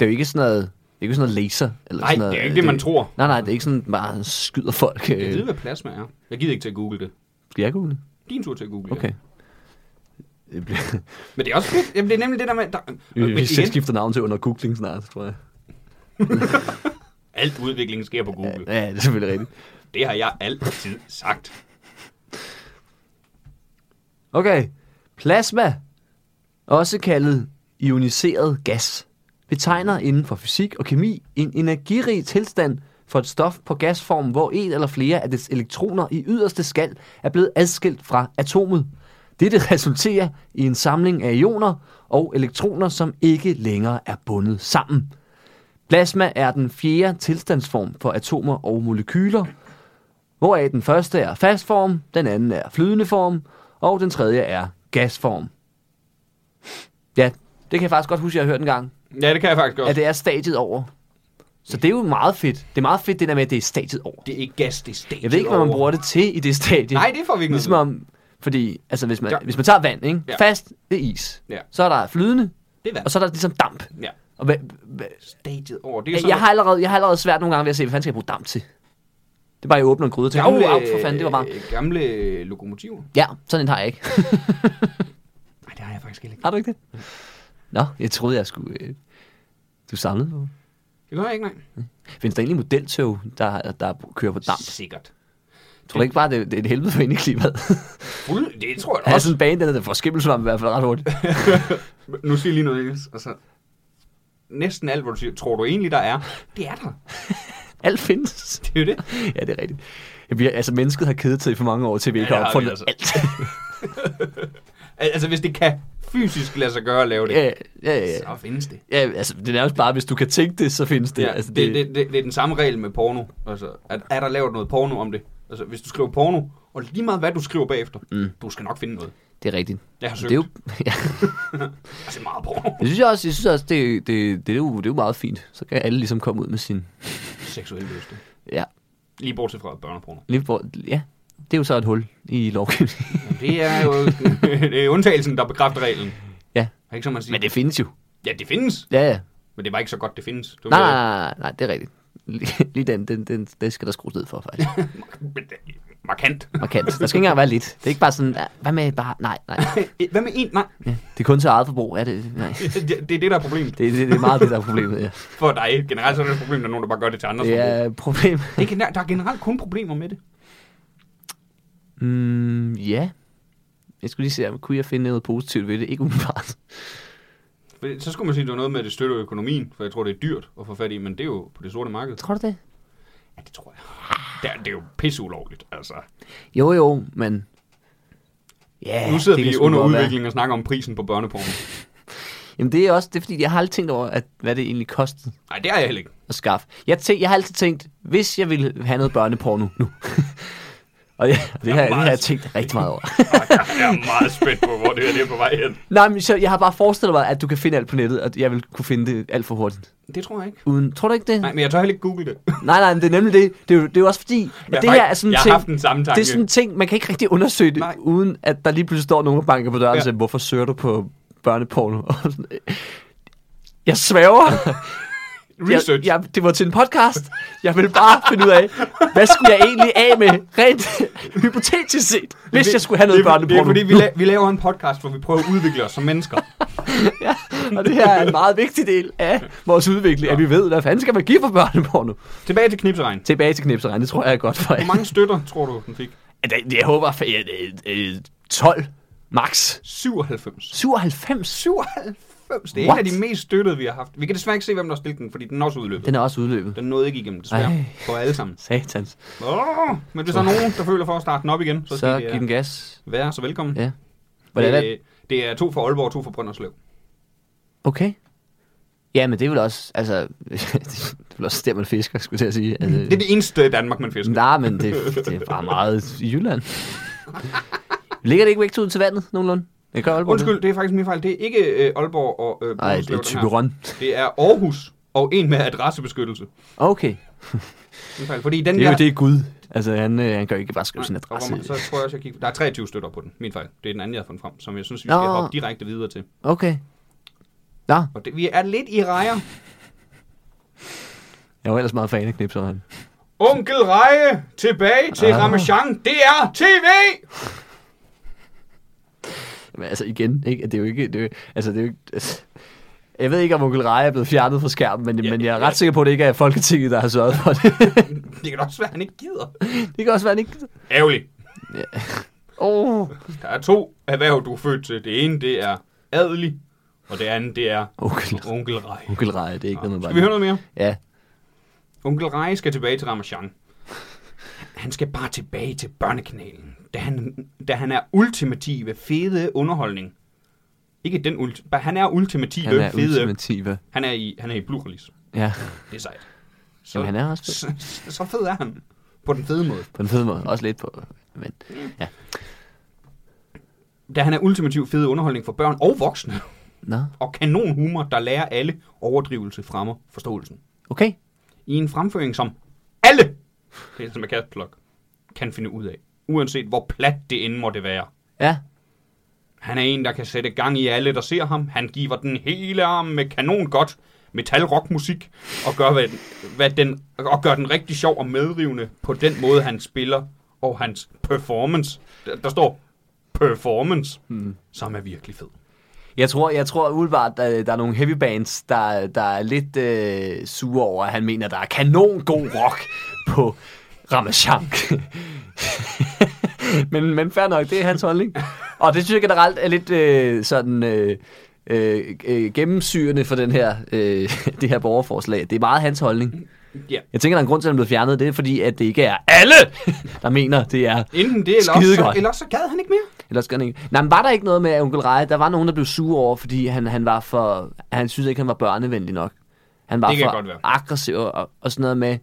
er jo ikke sådan noget, det er jo ikke sådan noget laser. Eller Nej, sådan det er noget, ikke det, man tror. Nej, nej, det er ikke sådan, bare skyder folk. Jeg Øh, ved, hvad plasma er. Jeg gider ikke til at google det. skal jeg google? Din tur til at google Okay. det. Men det er også fedt. Jamen, det er nemlig det der med... Der, Øh, men Vi skal igen, skifte navn til under googling snart, tror jeg. alt udvikling sker på Google. Ja, det er selvfølgelig rigtigt. Det har jeg altid sagt. Okay. Plasma, også kaldet ioniseret gas, betegner inden for fysik og kemi en energirig tilstand for et stof på gasform, hvor en eller flere af dets elektroner i yderste skal er blevet adskilt fra atomet. Dette resulterer i en samling af ioner og elektroner, som ikke længere er bundet sammen. Plasma er den fjerde tilstandsform for atomer og molekyler, hvoraf den første er fast form, den anden er flydende form, og den tredje er gasform. Ja, det kan jeg faktisk godt huske, jeg har hørt en gang, Ja, det kan jeg faktisk at også. det er stadiet over. Så det er jo meget fedt. Det er meget fedt, det der med, at det er stadiet over. Det er ikke gas, det er stat. Jeg ved ikke, hvad man bruger det til i det stadie. Nej, det får vi ikke ligesom noget om, fordi, altså hvis man, Ja. hvis man tager vand, ikke? Ja. fast, det er is. Ja. Så er der flydende, Det er vand. og så er der ligesom damp. Ja, Og hvad, hvad, stadiet over. Det er jeg, jeg, har allerede, jeg har allerede svært nogle gange ved at se, hvad fanden skal jeg bruge damp til? Det er bare, jeg åbner en gryde til. Gamle, øh, uh, for fanden, det var bare... Gamle lokomotiver. Ja, sådan en har jeg ikke. Nej, det har jeg faktisk heller ikke. Har du ikke det? Nå, jeg troede, jeg skulle... Øh, du samlede på. Det gør jeg ikke, nej. Findes der egentlig modeltog, der, der kører på damp? Sikkert. Tror du ikke bare, det, det er et helvede for ind i klimaet? Fuld, det tror jeg Ja, også. sådan en bane, den er for skimmelsvamp i hvert fald ret hurtigt. Nu siger jeg lige noget, Niels. Altså, næsten alt, hvad du siger, tror du egentlig, der er, det er der. Alt findes. Det er jo det. Ja, det er rigtigt. Jeg bliver, altså, mennesket har kedet sig i for mange år, til vi Ja, ikke det har har opfundet vi altså. alt. Al- Altså, hvis det kan fysisk lade sig gøre at lave det, ja, ja, ja. så findes det. ja, altså, det er nærmest bare, hvis du kan tænke det, så findes det. Ja, altså, det, det, det, det er den samme regel med porno. Altså, at, er der lavet noget porno om det? Altså, hvis du skriver porno, og lige meget hvad du skriver bagefter, mm. du skal nok finde noget. det er rigtigt. Jeg har søgt. Det er jo, ja, Altså, meget porno. det synes jeg også, jeg synes også det, det, det, er jo, det er jo meget fint. Så kan alle ligesom komme ud med sin... Seksuelle lyste. Ja, Lige bortset fra børneporno. Lige hvor, ja, det er jo så et hul i lovgivningen. Det er jo det er undtagelsen, der bekræfter reglen. ja, Er det ikke, som man siger? men det findes jo. Ja, det findes. Ja, ja. Men det var ikke så godt, det findes. Det var Nej, nej, nej, nej, det er rigtigt. Lige- Lige den, den, den, det skal der skrues ned for, faktisk. Men det er Markant. Markant. Der skal ikke engang være lidt. Det er ikke bare sådan, "Ja, hvad med bare, nej, nej. Hvad med en? Nej, Ja, det er kun til eget forbrug, er det? Nej. det, det er det, der er problemet. Det, det, det, er meget det, der er problemet, ja. For dig generelt så er det et problem, der er nogen, der bare gør det til andre. Det er et problem. Det kan, der er generelt kun problemer med det. Mm, ja. Jeg skulle lige se, om kunne jeg finde noget positivt ved det? Ikke umiddelbart. Fordi Så skulle man sige, at det var noget med, at det støtter økonomien, for jeg tror, det er dyrt at få fat i, men det er jo på det sorte marked. Tror du det? Ja, det tror jeg. Det er, det er jo pisseulovligt, altså. Jo, jo, men... Ja, nu sidder det vi kan sgu under godt være. udvikling og snakker om prisen på børneporno. Jamen det er også, det er fordi, jeg har aldrig tænkt over, at, hvad det egentlig kostede Nej, det er jeg heller ikke. at skaffe. Jeg, tæ- jeg har altid tænkt, hvis jeg ville have noget børneporno nu. og det, det, har, det har jeg meget- tænkt rigtig meget over. Jeg er meget spændt på, hvor det her det er på vej hen. Nej, men så jeg har bare forestillet mig, at du kan finde alt på nettet, og jeg vil kunne finde det alt for hurtigt. Det tror jeg ikke. Uden, tror du ikke det? Nej, men jeg tør heller ikke google det. nej, nej men det er nemlig det. Det er jo, det er jo også fordi, at Jeg det har- her er sådan en jeg har ting, haft den samme det er tanke. sådan en ting, man kan ikke rigtig undersøge det, Nej. uden at der lige pludselig står nogen og banker på døren og Ja. siger, hvorfor søger du på børneporno? Og sådan, øh, jeg svæver. Research. Jeg, jeg, det var til en podcast. Jeg ville bare finde ud af, hvad skulle jeg egentlig af med, rent hypotetisk set, hvis jeg skulle have noget det, er- Det er børneporno. fordi, vi, la- vi laver en podcast, hvor vi prøver at udvikle os som mennesker. Ja, og det her er en meget vigtig del af vores udvikling, at vi ved, hvad fanden skal man give for børneporno. Tilbage til knipseregn. Tilbage til knipseren, det tror jeg er godt for jer. Hvor mange støtter, tror du, den fik? Jeg, jeg håber, for, jeg, øh, øh, 12 max. 97. 97? 97? Det er What? en af de mest støttede, vi har haft. Vi kan desværre ikke se, hvem der har stillet den, fordi den er også udløbet. Den er også udløbet. Den nåede ikke igennem, desværre. Ej. For alle sammen. Satans. Oh, men hvis der er nogen, der føler for at starte den op igen, så Så, skal så det giv den øh, gas. være så velkommen. Ja. Hvordan er det? det, det er to fra Aalborg og to fra Brønderslev. Okay. Ja, men det er vel også, altså, det er vel også der, man fisker, skulle jeg til at sige. Altså, Det er det eneste sted i Danmark, man fisker. Nej, men det, det er bare meget i Jylland. Ligger det ikke vægt ud til vandet, nogenlunde? Det gør Aalborg. Undskyld, det er faktisk min fejl. Det er ikke øh, Aalborg og øh, Nej, Brønderslev. det er den her. Thyborøn. Det er Aarhus og en med adressebeskyttelse. Okay. Min fejl. Fordi den Det er jo der... det Gud. Altså, han, øh, han kan jo ikke bare skrive sin Nej, og hvor adresse. man- så tror jeg også, jeg gik... Der er 23 støtter på den. Min fejl. Det er den anden, jeg har fundet frem, som jeg synes, vi Nå. skal hoppe direkte videre til. Okay. Nå, Og det, vi er lidt i rejer. jeg var ellers meget fan af knipseren. Onkel Reje tilbage til Ah. ah. Ramachan. Det er TV! Men altså igen, ikke? det er jo ikke... Det er, jo- altså, det er jo ikke altså, jeg ved ikke, om Onkel Raja er blevet fjernet fra skærmen, men, ja, Ja, men jeg er ret ja. sikker på, at det ikke er Folketinget, der har sørget for det. Det kan da også være, han ikke gider. det kan også være, at han ikke... Ærgerligt. Åh, oh. Der er to erhverv, du er født til. Det ene, det er adelig, og det andet, det er Onkel, Onkel Reje. Onkel Raja, det er ikke noget, man bare... Skal vi høre noget mere? Ja, Onkel Rej skal tilbage til Ramachan. Han skal bare tilbage til børnekanalen, da han, da han er ultimative fede underholdning. Ikke den ulti- bare han er ultimative han er fede. ultimative. Han er i, han er i blue release. Ja, Det er sejt. Så, Jamen, han er også fed. så, så fed er han. På den fede måde. På en fed måde. Også lidt på... Men, ja. Da han er ultimativ fede underholdning for børn og voksne. Nå, Og kanon humor, der lærer alle overdrivelse fremmer forståelsen. okay. i en fremføring, som alle, det er som et catplug, kan finde ud af. Uanset hvor plat det end måtte være. Ja, Han er en, der kan sætte gang i alle, der ser ham. Han giver den hele arm med kanon godt metal-rockmusik, og gør, hvad, hvad den, og gør den rigtig sjov og medrivende på den måde, han spiller, og hans performance. Der, der står performance, mm. som er virkelig fed. Jeg tror, jeg tror umiddelbart, øh, der, der er nogle heavy bands, der, der er lidt øh, sure over, at han mener, der er kanon god rock på Ramachank. men, men fair nok, det er hans holdning. Og det synes jeg generelt er lidt øh, sådan... Øh, Øh, øh, gennemsyrende for den her, øh, det her borgerforslag. Det er meget hans holdning. Ja. Jeg tænker, der er en grund til, at den blev fjernet. Det er fordi, at det ikke er alle, der mener, det er Enten det, eller også, så, Skidegodt. eller også så gad han ikke mere. Ellers gør den ikke. Nej, men var der ikke noget med at onkel Reje? Der var nogen, der blev sure over, fordi han, han var for... Han synes ikke, han var børnevenlig nok. Han var Det kan for godt være. aggressiv og, og sådan noget med,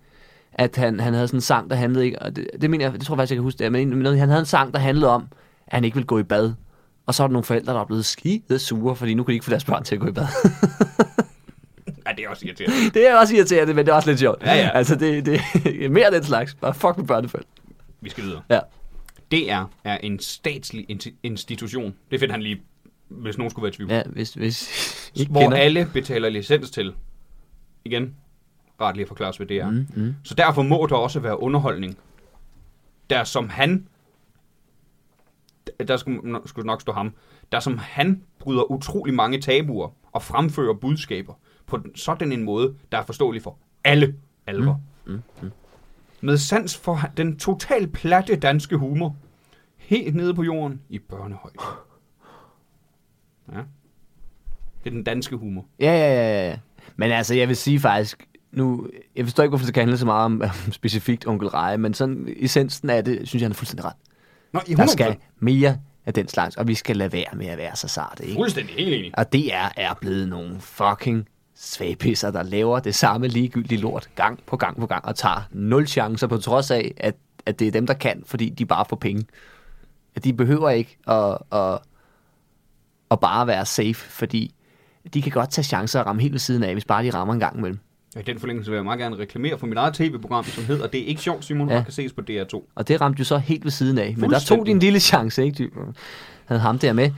at han, han havde sådan en sang, der handlede ikke... Og det, det, mener jeg, det tror jeg faktisk, jeg kan huske det. er, Men en- noget, han havde en sang, der handlede om, at han ikke ville gå i bad. Og så var der nogle forældre, der var blevet skide sure, fordi nu kunne de ikke få deres børn til at gå i bad. Ja, det er også irriterende. det er også irriterende, men det er også lidt sjovt. Ja, ja. Altså, det, det er mere af den slags. Bare fuck med børneforældre. Vi skal videre. Ja. DR er en statslig inti- institution. Det finder han lige, hvis nogen skulle være i tvivl. Ja, Ja, hvis, hvis I ikke hvor kender. kender. alle betaler licens til. Igen, rart lige at forklare os, hvad det er. Mm, mm. Så derfor må der også være underholdning. Der som han, der skulle, nå, skulle nok stå ham, der som han bryder utrolig mange tabuer og fremfører budskaber på den- sådan en måde, der er forståelig for alle alvor. Mm, mm. Med sans for den totalt platte danske humor, helt nede på jorden i børnehøjde. Ja. Det er den danske humor. Ja, ja, ja, ja, ja. Men altså, jeg vil sige faktisk, nu, jeg forstår ikke, hvorfor det kan handle så meget om, om specifikt onkel Reje, men sådan essensen af det, synes jeg, han er fuldstændig ret. Nå, i Der skal mere af den slags, og vi skal lade være med at være så sarte, ikke? Fuldstændig helt enig. Og DR er blevet nogle fucking svagpisser, der laver det samme ligegyldige lort gang på gang på gang, og tager nul chancer på trods af, at, at det er dem, der kan, fordi de bare får penge. At de behøver ikke at, at, at bare være safe, fordi de kan godt tage chancer og ramme helt ved siden af, hvis bare de rammer en gang imellem. Og I den forlængelse vil jeg meget gerne reklamere for mit eget tv-program, som hedder Det er ikke sjovt, Simon, ja. Ja. og kan ses på DR2. Og det ramte jo så helt ved siden af. Men der tog Fuldstændig. din lille chance, ikke? Du havde ham der med. Ej,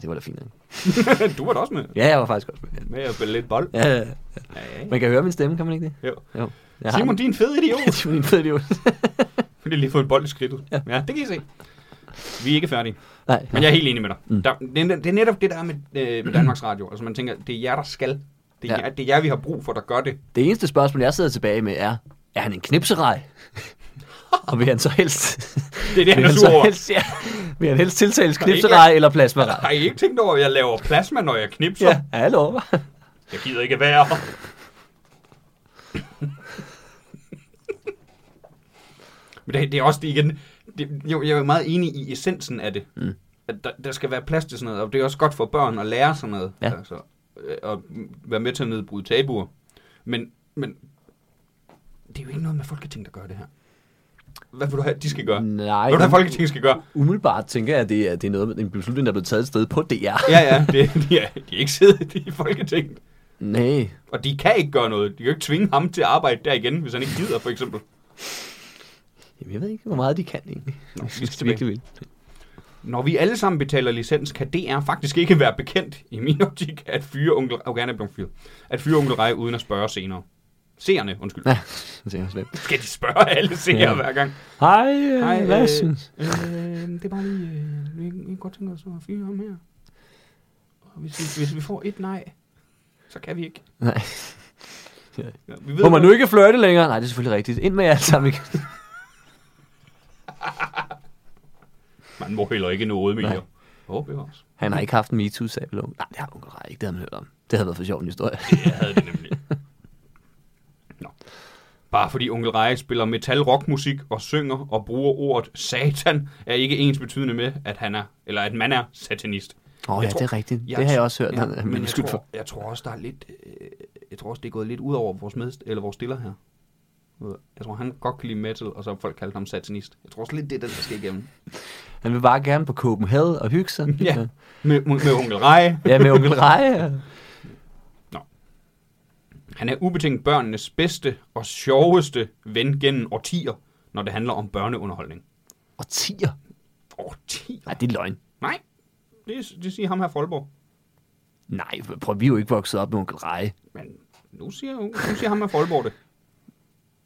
det var da fint. ikke? du var da også med. Ja, jeg var faktisk også med. Med at spille lidt bold. Ja, ja, ja. Ja. Man kan høre min stemme, kan man ikke det? Jo. Jo. Jeg Simon, din fede idiot. har min fede idiot. Fordi jeg lige fået en bold i skridtet. Ja. ja, det kan I se. Vi er ikke færdige. Nej, Men jeg er helt enig med dig. Mm. Der, det, er- det er netop det der er med, øh, med Danmarks Radio. Altså man tænker, det er jer, der skal. Det er, ja. Ja. jer, det er jer, vi har brug for, der gør det. det eneste spørgsmål, jeg sidder tilbage med, er, er han en knipserej? og vil han så helst... Det er det, han er vil han sur så over. helst, ja, vil han helst tiltales ikke- knipserej eller plasmarej? Har I ikke tænkt over, at jeg laver plasma, når jeg knipser? Ja, hallo. Jeg gider ikke at være her. Men det, det er også det igen. Det, jo, jeg er meget enig i essensen af det. Mm. At der, der skal være plads til sådan noget, og det er også godt for børn at lære sådan noget. Ja. Altså, øh, og være med til at nedbryde tabuer. Men, men det er jo ikke noget med Folketinget, der gør det her. Hvad vil du have, de skal gøre? Hvad Nej, vil du have, um- Folketinget skal gøre? Umiddelbart tænker jeg, at det er, det er noget, en beslutning, der er blevet taget et sted på DR. Ja, ja, det, de, er, de er ikke siddet i Folketinget. Nej, Og de kan ikke gøre noget. De kan jo ikke tvinge ham til at arbejde der igen, hvis han ikke gider, for eksempel. Jamen, jeg ved ikke, hvor meget de kan egentlig. Nå, vi vi skal skal det virkelig vil. Når vi alle sammen betaler licens, kan DR faktisk ikke være bekendt, i min optik, at fyre onkel... Oh, gerne er blevet fyret. At fyre onkel Rej uden at spørge senere. Seerne, undskyld. Ja, det er slemt. Skal de spørge alle seere ja. Ja. hver gang? Hej, Hej hvad øh... synes øh, det er bare lige... Øh, vi, vi kan godt tænke os at fyre ham her. Og hvis, vi, hvis vi får et nej, så kan vi ikke. Nej. Ja, vi ved, Må man nu ikke flirte længere? Nej, det er selvfølgelig rigtigt. Ind med jer alle sammen igen. Man må heller ikke noget mere. Nej. Åh, oh, bevares. Han har ikke haft en MeToo-sag ved Nej, det har onkel Rej ikke. Det har man hørt om. Det havde været for sjov en historie. Jeg havde det nemlig. Nå. Bare fordi onkel Rej spiller metal rockmusik og synger og bruger ordet satan, er ikke ens betydende med, at han er, eller at man er satanist. Åh oh, Jeg ja, tror- det er rigtigt. Det har jeg også hørt. Ja, han er men jeg beskyldt tror, for. jeg tror også, der er lidt, øh, jeg tror også, det er gået lidt ud over vores, med, eller vores stiller her. Jeg tror, han godt kan lide metal, og så har folk kaldt ham satanist. Jeg tror også lidt, det er den, der skal igennem. Han vil bare gerne på Copenhagen og hygge sig. Ja, med, med onkel Rej. Ja, med onkel Rej. Han er ubetinget børnenes bedste og sjoveste ven gennem årtier, når det handler om børneunderholdning. Og tiger. Årtier? Nej, det er løgn. Nej, det, det siger ham her Folborg. Nej, prøv, vi er jo ikke vokset op med onkel Rej. Men nu siger, nu siger ham her Folborg det.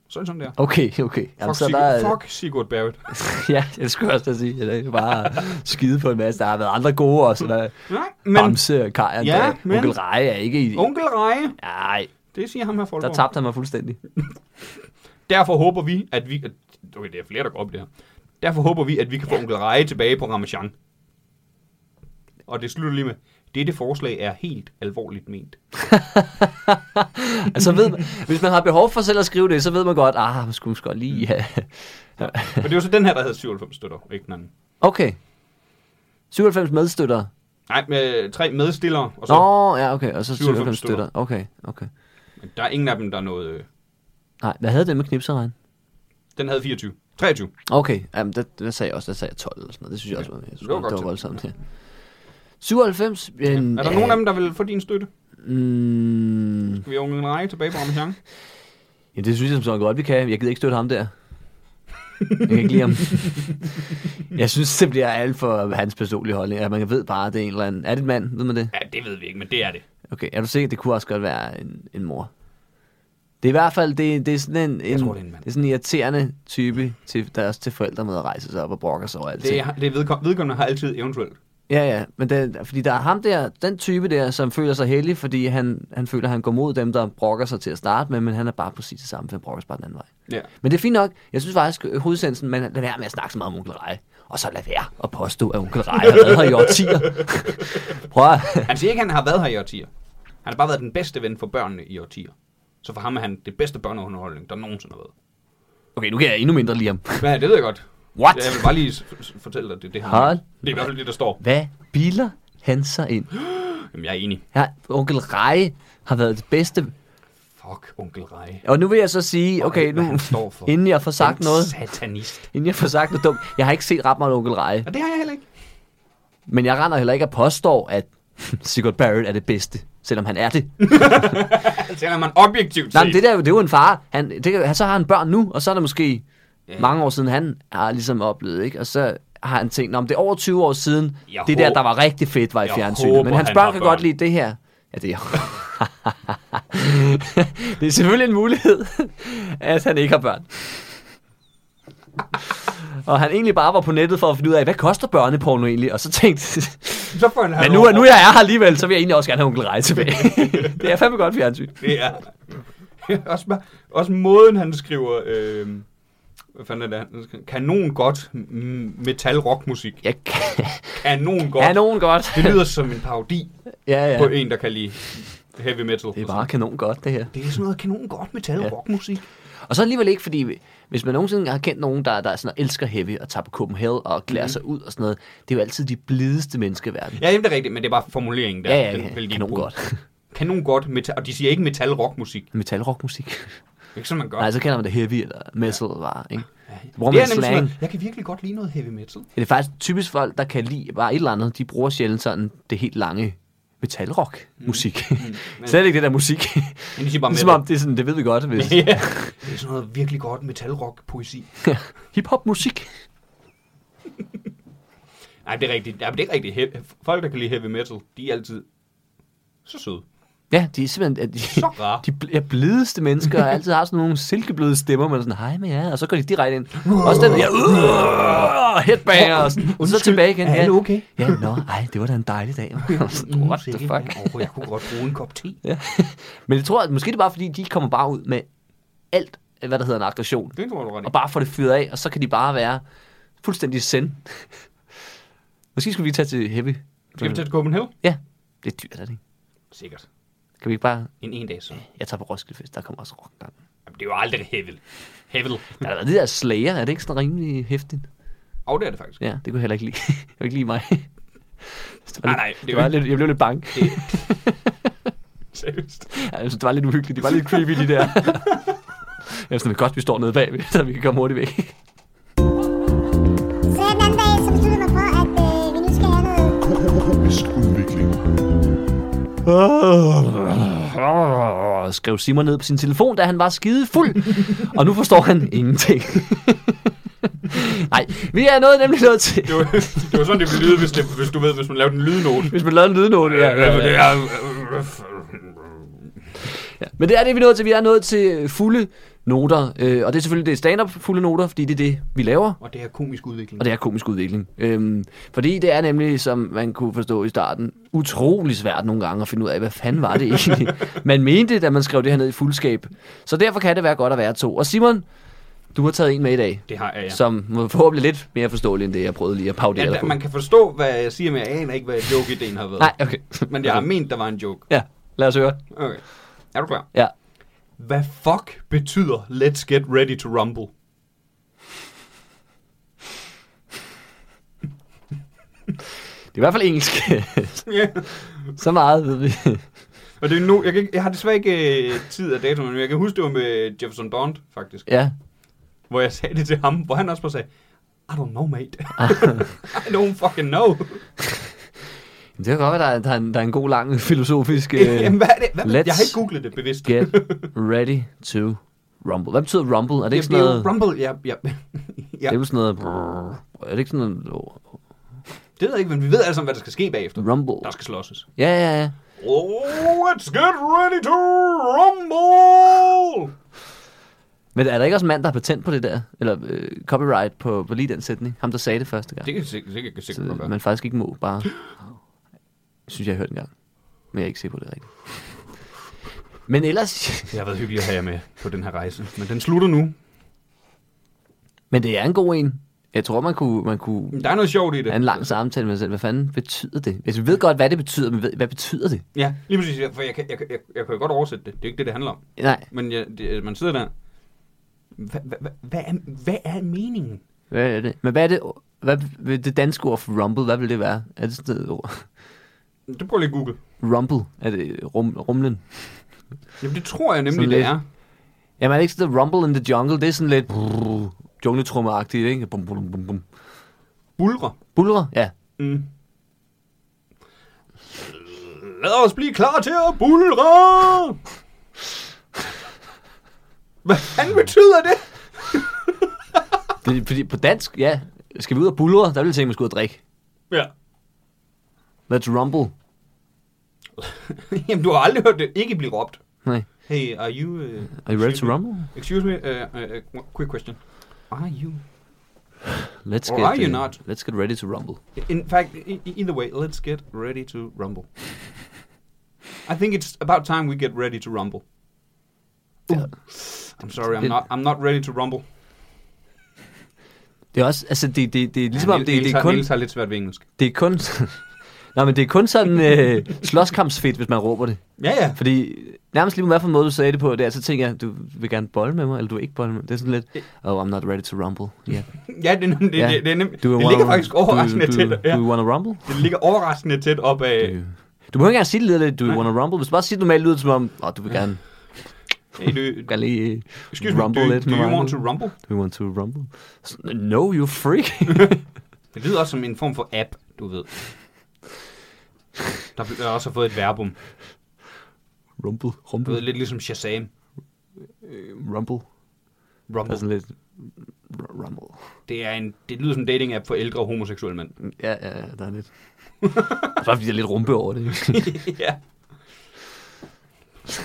Sådan sådan der. Okay, okay. Fuck, så Sigurd, der er- fuck Sigurd Barrett. Ja, jeg skulle også til at sige, at det er bare skide på en masse. Der har været andre gode også. Der, Nej, men, men Bamse og Kajan. Ja, Ja, men- men... Onkel Reje er ikke i... onkel Reje, Nej, det siger ham her Folborg. der tabte han mig fuldstændig. Derfor håber vi, at vi... at- Okay, det er flere, der går op i det her. Derfor håber vi, at vi kan få onkel Reje tilbage på Ramachan. Og det slutter lige med, dette forslag er helt alvorligt ment. Altså, ved man, hvis man har behov for selv at skrive det, så ved man godt, ah, man skulle måske godt lige have... Men det er jo så den her, der hedder 97 støtter, ikke den anden. Okay. 97 medstøttere. Nej, med tre medstillere, og så... Nå, ja, okay. Og så 97 97 støtter. Okay, okay. Men der er ingen af dem, der er noget... øh, Nej, hvad havde det med knipseregn? Den havde 24. 23. Okay, jamen, det, det, sagde jeg også. Der sagde jeg 12 eller sådan noget. Det synes jeg også var, jeg synes, det det var var, godt det var til. voldsomt. Ja. 97? Ja. Er der nogen af dem, der vil få din støtte? Mm, Vi har unge Rej tilbage på Ramachan. Ja, det synes jeg som sådan godt, vi kan. Jeg gider ikke støtte ham der. Jeg kan ikke lide ham. Jeg synes, det bliver alt for hans personlige holdning. At man ved bare, at det er en eller anden... Er det en mand? Ved man det? Ja, det ved vi ikke, men det er det. Okay, er du sikker? Det kunne også godt være en, en mor. Det er i hvert fald det, det er sådan en, en, tror, det er en mand. det er sådan en irriterende type, til, der er også til forældre med at rejse sig op og brokker sig over alt. Det, er, det er vedkom- vedkommende har altid eventuelt. Ja, ja, men den, fordi der er ham der, den type der, som føler sig heldig, fordi han, han føler, at han går mod dem, der brokker sig til at starte med, men han er bare præcis det samme, for han brokker sig bare den anden vej. Ja. Men det er fint nok. Jeg synes faktisk, at hovedsendelsen, man lad være med at snakke så meget om onkel Rej. Og så lad være at påstå, at onkel Rej har været her i årtier. Prøv at... Han siger ikke, at han har været her i årtier. Han har bare været den bedste ven for børnene i årtier. Så for ham er han det bedste børneunderholdning, der nogensinde har været. Okay, nu kan jeg endnu mindre lige ham. Ja, det ved jeg godt. What? Jeg vil bare lige s- s- fortælle dig, det, er det her. Hold. Det er i hvert fald det, der står. Hvad biler han sig ind? Jamen, jeg er enig. Ja, onkel Reje har været det bedste. Fuck, onkel Rej. Og nu vil jeg så sige, okay, hvad nu, han står for. inden jeg får sagt Den noget, Satanist. inden jeg får sagt noget dumt, jeg har ikke set ret meget onkel Reje, Og det har jeg heller ikke. men jeg render heller ikke og påstår, at Sigurd Barrett er det bedste, selvom han er det. Altså, selvom man objektivt Nej, set- men det der, det er jo en far. Han, det, kan- så har han børn nu, og så er der måske yeah. mange år siden, han har ligesom oplevet, ikke? Og så har han tænkt, om det er over 20 år siden, Jeg det der, håber- der var rigtig fedt, var i jeg fjernsynet. håber, men hans han børn har kan børn. godt lide det her. Ja, det er Det er selvfølgelig en mulighed, at han ikke har børn. Og han egentlig bare var på nettet for at finde ud af, hvad koster børneporno egentlig? Og så tænkte, Så får han men nu, nu jeg er her alligevel, så vil jeg egentlig også gerne have onkel Rej tilbage. det er fandme godt fjernsyn. Det er... også, bare- også måden, han skriver... Øh, hvad fanden er det, han skriver? Kanon godt m- metal rockmusik. Jeg kan... Kanon godt. Ja, nogen godt. Det lyder som en parodi ja, ja. på en, der kan lide heavy metal. Det er bare kanon godt, det her. det er sådan noget kanon godt metal Ja. rockmusik. Og så alligevel ikke, fordi hvis man nogensinde har kendt nogen, der, der sådan elsker heavy og tager på Copenhagen og klæder mm. sig ud og sådan noget, det er jo altid de blideste mennesker i verden. Mhm. Ja, jamen, det er rigtigt, men det er bare formuleringen der. Ja, ja, den ja, vil de kanon bruge. godt. Kanon godt metal, og de siger ikke metal rockmusik. Det Metalrockmusik. er ikke sådan, man gør. Nej, så kalder man det heavy eller metal bare, ikke? Det bruger det er nemlig man sådan slang. noget, jeg kan virkelig godt lide noget heavy metal. Det er faktisk typisk folk, der kan lide bare et eller andet. De bruger sjældent sådan det helt lange metalrock-musik. Mm, men- Slet ikke det der musik. Men de siger bare det er som metal. Ligesom om, det er sådan, det ved vi godt. Hvis... ja. Det er sådan noget virkelig godt metalrock-poesi. Hip-hop-musik. Nej, det er rigtigt. Ja, men det er rigtigt. He- folk, der kan lide heavy metal, de er altid så søde. Ja, de er simpelthen... De, Så rare. de bl- ja, blideste mennesker, og altid har sådan nogle silkebløde stemmer, man er sådan, hej med jer, og så går de direkte ind. Også den, ja, uh, headbanger, og, sådan, og så tilbage igen. er alle okay? Ja, nå, ej, det var da en dejlig dag. Sådan, What the Sikke- fuck? Åh, jeg kunne godt bruge en kop te. Ja. Men jeg tror, at måske det er bare fordi, de kommer bare ud med alt, hvad der hedder en aggression, Det tror jeg, du er ret i. og bare får det fyret af, og så kan de bare være fuldstændig send. Måske skulle vi tage til Heavy. Skal vi tage til Copenhagen? Ja, det er dyrt, er det ikke? Sikkert. Kan vi ikke bare... En en dag så. Jeg tager på Roskilde Fest, der kommer også rock gang. Jamen, det er jo aldrig heavy. Heavy. Der er det der slager, er det ikke sådan rimelig hæftigt? Og oh, det er det faktisk. Ja, det kunne jeg heller ikke lide. Jeg kunne ikke lide mig. Det var Nej, lidt- nej, det er jo det ikke- var lidt, jeg blev lidt bange. Det... Seriøst. Ja, Jeg synes, det var lidt uhyggeligt. Det var lidt creepy, de der. Jeg er sådan, det er godt, vi står nede bagved, så vi kan komme hurtigt væk. Så den anden dag, så besluttede jeg mig for, at øh, vi nu skal have noget Komisk udvikling. Skrev Simon ned på sin telefon, da han var skide fuld. Og nu forstår han ingenting. Nej, vi er nået nemlig nået til... Det var, det var sådan, det ville lyde, hvis, det, hvis du ved, hvis man lavede en lydnote. Altså, Hvis man lavede en lydnote, ja, ja, ja. Men det er det, vi er nået til. Vi er nået til øh, fulde noter. Øh, og det er selvfølgelig det er stand-up fulde noter, fordi det er det, vi laver. Og det er komisk udvikling. Og det er komisk udvikling. Øhm, fordi det er nemlig, som man kunne forstå i starten, utrolig svært nogle gange at finde ud af, hvad fanden var det egentlig, man mente, da man skrev det her ned i fuldskab. Så derfor kan det være godt at være to. Og Simon, du har taget en med i dag, Det har jeg, ja. ja. som må forhåbentlig lidt mere forståelig end det, jeg prøvede lige at paudere Ja, dig da, på. man kan forstå, hvad jeg siger, men jeg aner ikke, hvad joke-ideen har været. Nej, okay. Men jeg har ment, der var en joke. Ja, lad os høre. Okay. Er du klar? Ja. Hvad fuck betyder let's get ready to rumble? Det er i hvert fald engelsk. Ja. Så meget ved vi. Og det er nu, jeg, kan, ikke- jeg har desværre ikke øh, tid og dato, men jeg kan huske, det var med Jefferson Bond, faktisk. ja. Hvor jeg sagde det til ham, hvor han også bare sagde, I don't know, mate. I don't fucking know. Men Det kan godt være, der er, der er, en, der er en god lang filosofisk... øh, Jamen, hvad er det? Hvad, jeg har let's ikke googlet det bevidst. Get ready to rumble. Hvad betyder rumble? Er det det er ikke sådan noget... Rumble, ja, ja. ja. Det er jo sådan noget... Er det ikke sådan noget... Det ved jeg ikke, men vi ved altså, hvad der skal ske bagefter. Rumble? Der skal slåsses. Ja, ja, ja. Let's get ready to rumble! Men er der ikke også en mand, der har patent på det der? Eller øh, copyright på, på lige den sætning? Ham, der sagde det første gang. Det kan sikkert, det kan sikkert godt så, være. man faktisk ikke må bare... synes, jeg har hørt en gang. Men jeg er ikke sikker på det rigtigt. Men ellers... Det har været hyggeligt at have jer med på den her rejse. Men den slutter nu. Men det er en god en. Jeg tror, man kunne, man kunne Der er noget sjovt i det. have en lang samtale med sig selv. Hvad fanden betyder det? Altså, vi ved godt, hvad det betyder, men ved- hvad betyder det? Ja, lige præcis. ja, For jeg kan, jeg, kan- jeg, jeg kan jo godt oversætte det. Det er ikke det, det handler om. Nej. Men jeg, det, man sidder der. Hvad hva, hva hvad er, hvad er meningen? Hvad er det? Men hvad er det, hvad vil det danske ord for rumble? Hvad vil det være? Er det sådan et ord? Det prøver lige at google. Rumble? Er det rum, rumlen? Jamen, det tror jeg nemlig, Sådan det lidt. er. Jamen er det ikke sådan noget rumble in the jungle? Det er sådan lidt brrr, jungletrummeagtigt, ikke? Bum, bum, bum, bum. Bulre. Bulre? Ja. Mm. Lad os blive klar til at bulre! Hvad fanden betyder det? Det, er fordi på dansk, ja. Skal vi ud og bulre? Der ville jeg tænke, man skulle ud og drikke. Ja. Let's rumble. Jamen, du har aldrig hørt det ikke blive råbt. Nej. Hey, are you... Uh, Are you ready to rumble? Excuse me, uh, uh, uh, quick question. Are you... Let's Or get, are you uh, not? Let's get ready to rumble. In fact, e- e- either way, let's get ready to rumble. I think it's about time we get ready to rumble. Ja. I'm sorry, I'm Det- not. I'm not ready to rumble. Det er også, altså det, det, det er ligesom om, det, Niels det er har- kun... Niels har lidt svært ved engelsk. Det er kun... Nej, men det er kun sådan øh, slåskampsfedt, hvis man råber det. Ja, ja. Fordi nærmest lige på hvad for en måde, du sagde det på, der, så tænker jeg, du vil gerne bolle med mig, eller du vil ikke bolle med mig. Det er sådan lidt, oh, I'm not ready to rumble. Yeah. Ja, det, er nem- Øh. det, Ja. det, det, er nemt. Do you det wanna- ligger faktisk overraskende do, tæt. Do, Ja. Øh. do you wanna rumble? Det ligger overraskende tæt op af... Do you- Du må ikke engang sige det lidt, do you wanna rumble? Hvis du bare siger det normalt, lyder det som om, oh, du vil gerne, Hey, do, du vil gerne lige øh, excuse me, do, rumble lidt do med you mig. want to rumble? Do you want to rumble? Sådan, No, you freak. Det lyder også som en form for app, du ved. Der bliver også fået et verbum. rumble, Du ved, rumble, lidt ligesom Shazam. rumble. Der er Rumble. sådan lidt, r- rumble. Det, er en, det lyder som en dating-app for ældre og homoseksuelle mænd. Ja, ja, ja, der er lidt. Bare fordi der er lidt rumpe over det. ja.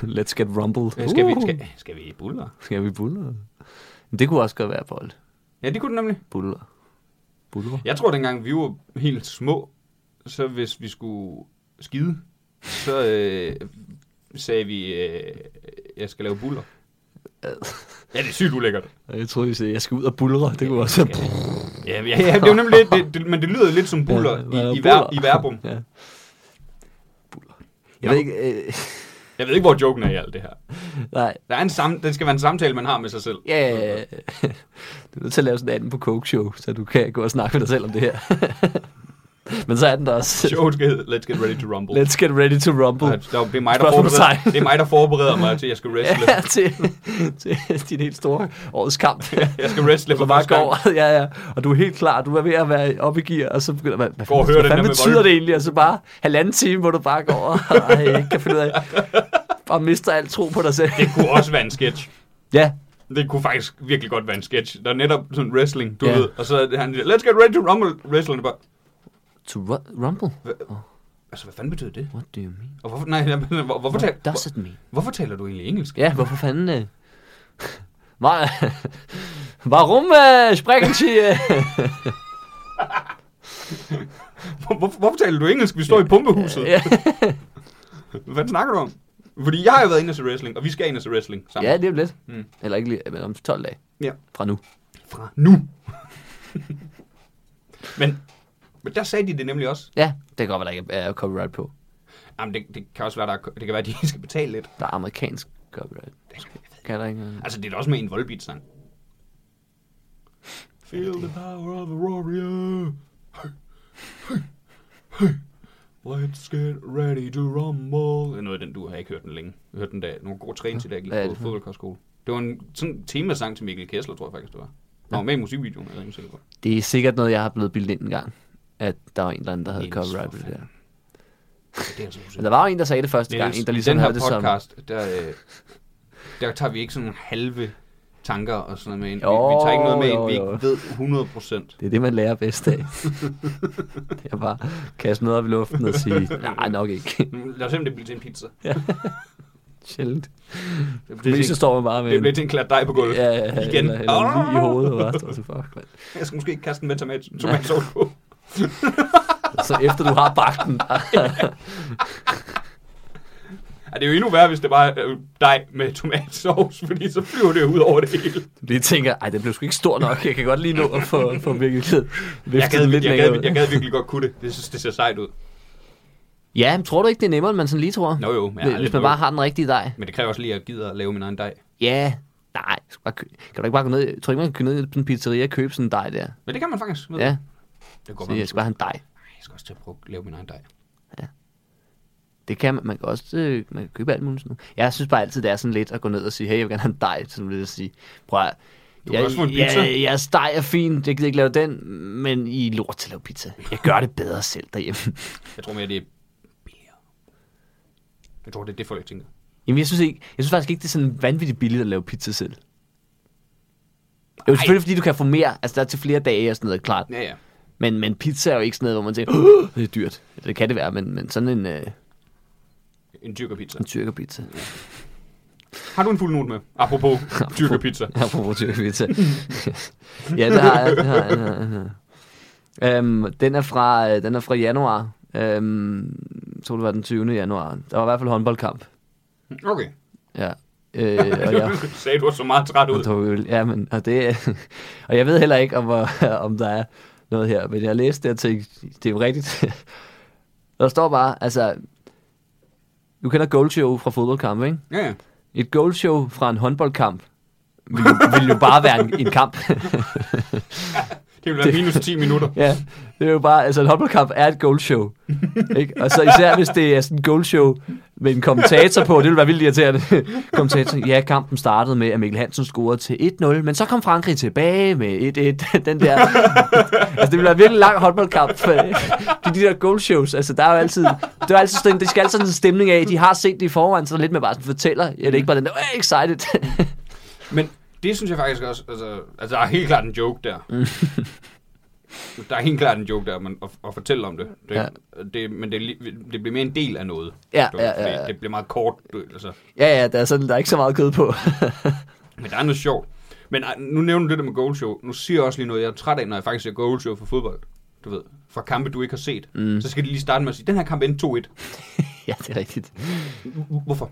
Let's get rumbled. Øh, Skal vi, Uh. skal, skal vi buller? Skal vi buller? Men Det kunne også godt være bold. Ja, det kunne det nemlig. Buller. Buller? Jeg tror, dengang vi var helt små, så hvis vi skulle skide, så øh, sagde vi, øh, jeg skal lave buller. Ja, det er sygt ulækkert. Jeg troede, I sagde, jeg skal ud og bullre. Det kunne også være... Ja, ja, ja det er jo nemlig lidt, det, det, men det lyder lidt som buller Ja, hvad er i, i, buller? ver, i verbum. Ja. Buller. Jeg ved ikke... Øh, Jeg ved ikke, hvor joken er i alt det her. nej. Der er en sam, det skal være en samtale, man har med sig selv. Ja, ja, ja. Du er nødt til at lave sådan en anden på Coke Show, så du kan gå og snakke med dig selv om det her. Men så er den der også. Showet skal hedde, let's get ready to rumble. Let's get ready to rumble. Og der- Det er, mig, der Spørgsmålstegn. forbereder, det er mig, der forbereder mig til, at jeg skal wrestle. Ja, til, til din helt store årets kamp. Jeg skal wrestle for Så bare første går gang. over, ja, ja. Og du er helt klar, du er ved at være oppe i gear, og så begynder man, hvad, Går og hvad, hører den hvad der fanden med betyder volden. det egentlig? Og så bare halvanden time, hvor du bare går over, og ikke kan finde ud af, bare mister alt tro på dig selv. Det kunne også være en sketch. ja, Det kunne faktisk virkelig godt være en sketch. Der er netop sådan wrestling, du Ja. yeah. ved. Og så er det han, siger, let's get ready to rumble. Wrestling er bare, to ru- rumble, altså hvad fanden betyder det? what do you mean? Og hvorfor, nej, jeg mener, hvor, hvorfor, tal, Does it hvor, mean? hvorfor taler du egentlig engelsk? Ja, hvorfor fanden... Øh, var, Warum äh, sprechen Sie? Äh, Hvor, hvorfor, hvorfor taler du engelsk? Vi står i pumpehuset. ja. Hvad snakker du om? Fordi jeg har jo været inde og se wrestling, og vi skal ind og se wrestling sammen. ja, lige om lidt. Mm. Eller ikke lige, men om 12 dage ja. fra nu. Fra nu. men, men der sagde de det nemlig også. Ja, det kan godt være, der ikke er copyright på. Jamen, det, det kan også være, der, er- det kan være, at de skal betale lidt. Der er amerikansk copyright. Kan der ikke? Altså, det er da også med i en Volbeat-sang. Feel the power of a warrior. Hey, hey, hey. Let's get ready to rumble. Det er noget af den, du har ikke hørt den længe. Jeg hørte den da nogle gode træne til, da jeg gik Hvad er på det for? fodboldkostskole. Det var en sådan temasang til Mikkel Kessler, tror jeg faktisk, det var. Der var med i musikvideoen, jeg er rimelig sikker på. Det er sikkert noget, jeg har blevet bildt ind en gang, at der var en eller anden, der havde Niels, for copyright på det der. fanden. Ja, det er altså musik. Men der var jo en, der sagde det første gang, en, der ligesom i den her havde det som... podcast, der, øh, der tager vi ikke sådan nogle halve tanker og sådan noget med ind. Vi, Jo, vi tager ikke noget med ind, jo, vi jo. ikke ved 100 procent. Det er det, man lærer bedst af. det er bare at kaste noget op i luften og sige, nej, nok ikke. Lad os se, om det bliver til en pizza. Sjældent. Det bliver, Det så til, står man bare en, med... det en- bliver til en klat dej på gulvet. Ja, ja, ja, igen. Eller, eller lige i Ah! hovedet. Og bare, står så, fuck, mand. Jeg skal måske ikke kaste den med tomat, tomatsovs på. så efter du har bagt den, bare, Ja, det er jo endnu værre, hvis det bare er øh, dej med tomatsovs, fordi så flyver det jo ud over det hele. lige tænker, ej, det blev sgu ikke stor nok. Jeg kan godt lige nå at få, få virkelig ked. Jeg gad, jeg, gad, jeg gad virkelig godt kunne det. Jeg synes, det ser sejt ud. Ja, men tror du ikke, det er nemmere, end man sådan lige tror? Nå jo, men jeg har Hvis aldrig man prøvet. bare har den rigtige dej. Men det kræver også lige, at jeg gider at lave min egen dej. Ja, Nej, du skal bare kø- kan du ikke bare gå ned? Tror du ikke, man kan gå ned i en pizzeria og købe sådan en dej der? Men det kan man faktisk. ved Ja, du. Det går så man. jeg skal bare have en dej. Ej, jeg skal også til at prøve at lave min egen dej. Det kan man, man kan også øh, man kan købe alt muligt sådan noget. Jeg synes bare altid, det er sådan lidt at gå ned og sige, hey, jeg vil gerne have en dej, som vil jeg sige, prøv at, Du kan også få en jeg, pizza." jeg, jeres dej er fint, jeg gider ikke lave den, men I er lort til at lave pizza. Jeg gør det bedre selv derhjemme. Jeg tror mere, det er billigere. Jeg tror, det er det, folk tænker. Jamen, jeg synes, ikke, jeg synes faktisk ikke, det er sådan vanvittigt billigt at lave pizza selv. Jo, selvfølgelig, fordi du kan få mere. Altså, der er til flere dage og sådan noget, klart. Ja, ja. Men, men pizza er jo ikke sådan noget, hvor man tænker, "Åh, det er dyrt. Det kan det være, men, men sådan en, øh, En tyrkerpizza. en tyrkerpizza. Har du en fuld note med? Apropos tyrkerpizza. Jeg bruger tyrkerpizza. ja, det har jeg. Det har jeg, det har jeg, det har jeg. Øhm, den, er fra, øh, den er fra januar. Øhm, jeg tror, det var den 20. januar. Der var i hvert fald håndboldkamp. Okay. Ja. Øh, og jeg, sagde, du var så meget træt Og ud. druk øl. Ja, men, og, det, og jeg ved heller ikke, om, hvor- om der er noget her, men jeg læste det og tænkte, det er jo rigtigt. Der står bare, altså, du kender goalshow fra fodboldkamp, ikke? Ja, ja. Et goalshow fra en håndboldkamp vil jo, vil jo bare være en, en kamp. Det ville være minus 10 minutter. ja, det er jo bare, altså en håndboldkamp er et goalshow. Ikke? Og så især hvis det er sådan et goalshow med en kommentator på, det ville være vildt irriterende. kommentator, ja, kampen startede med, at Mikkel Hansen scorede til 1-0, men så kom Frankrig tilbage med 1-1. Den der, altså det ville være en virkelig lang håndboldkamp. for De, de der goalshows, altså der er jo altid, det, er altid sådan, det skal altid sådan en stemning af, de har set det i forvejen, så er der lidt med bare sådan fortæller, ja, det er ikke bare den der, "Øh, excited. Men det synes jeg faktisk også, altså, altså der er helt klart en joke der. Mm. der er helt klart en joke der, men at, at fortælle om det. det, Ja. det men det, er li- det bliver mere en del af noget. Ja, du ved, ja, ja, fordi ja. Det bliver meget kort. Du, ved, altså. ja, ja, der er, sådan, der er ikke så meget kød på. Men der er noget sjovt. Men ej, nu nævner du det der med goal show. Nu siger jeg også lige noget, jeg er træt af, når jeg faktisk ser goal show for fodbold. Du ved, fra kampe, du ikke har set. Mm. Så skal de lige starte med at sige, den her kamp endte 2-1. ja, det er rigtigt. Hvorfor?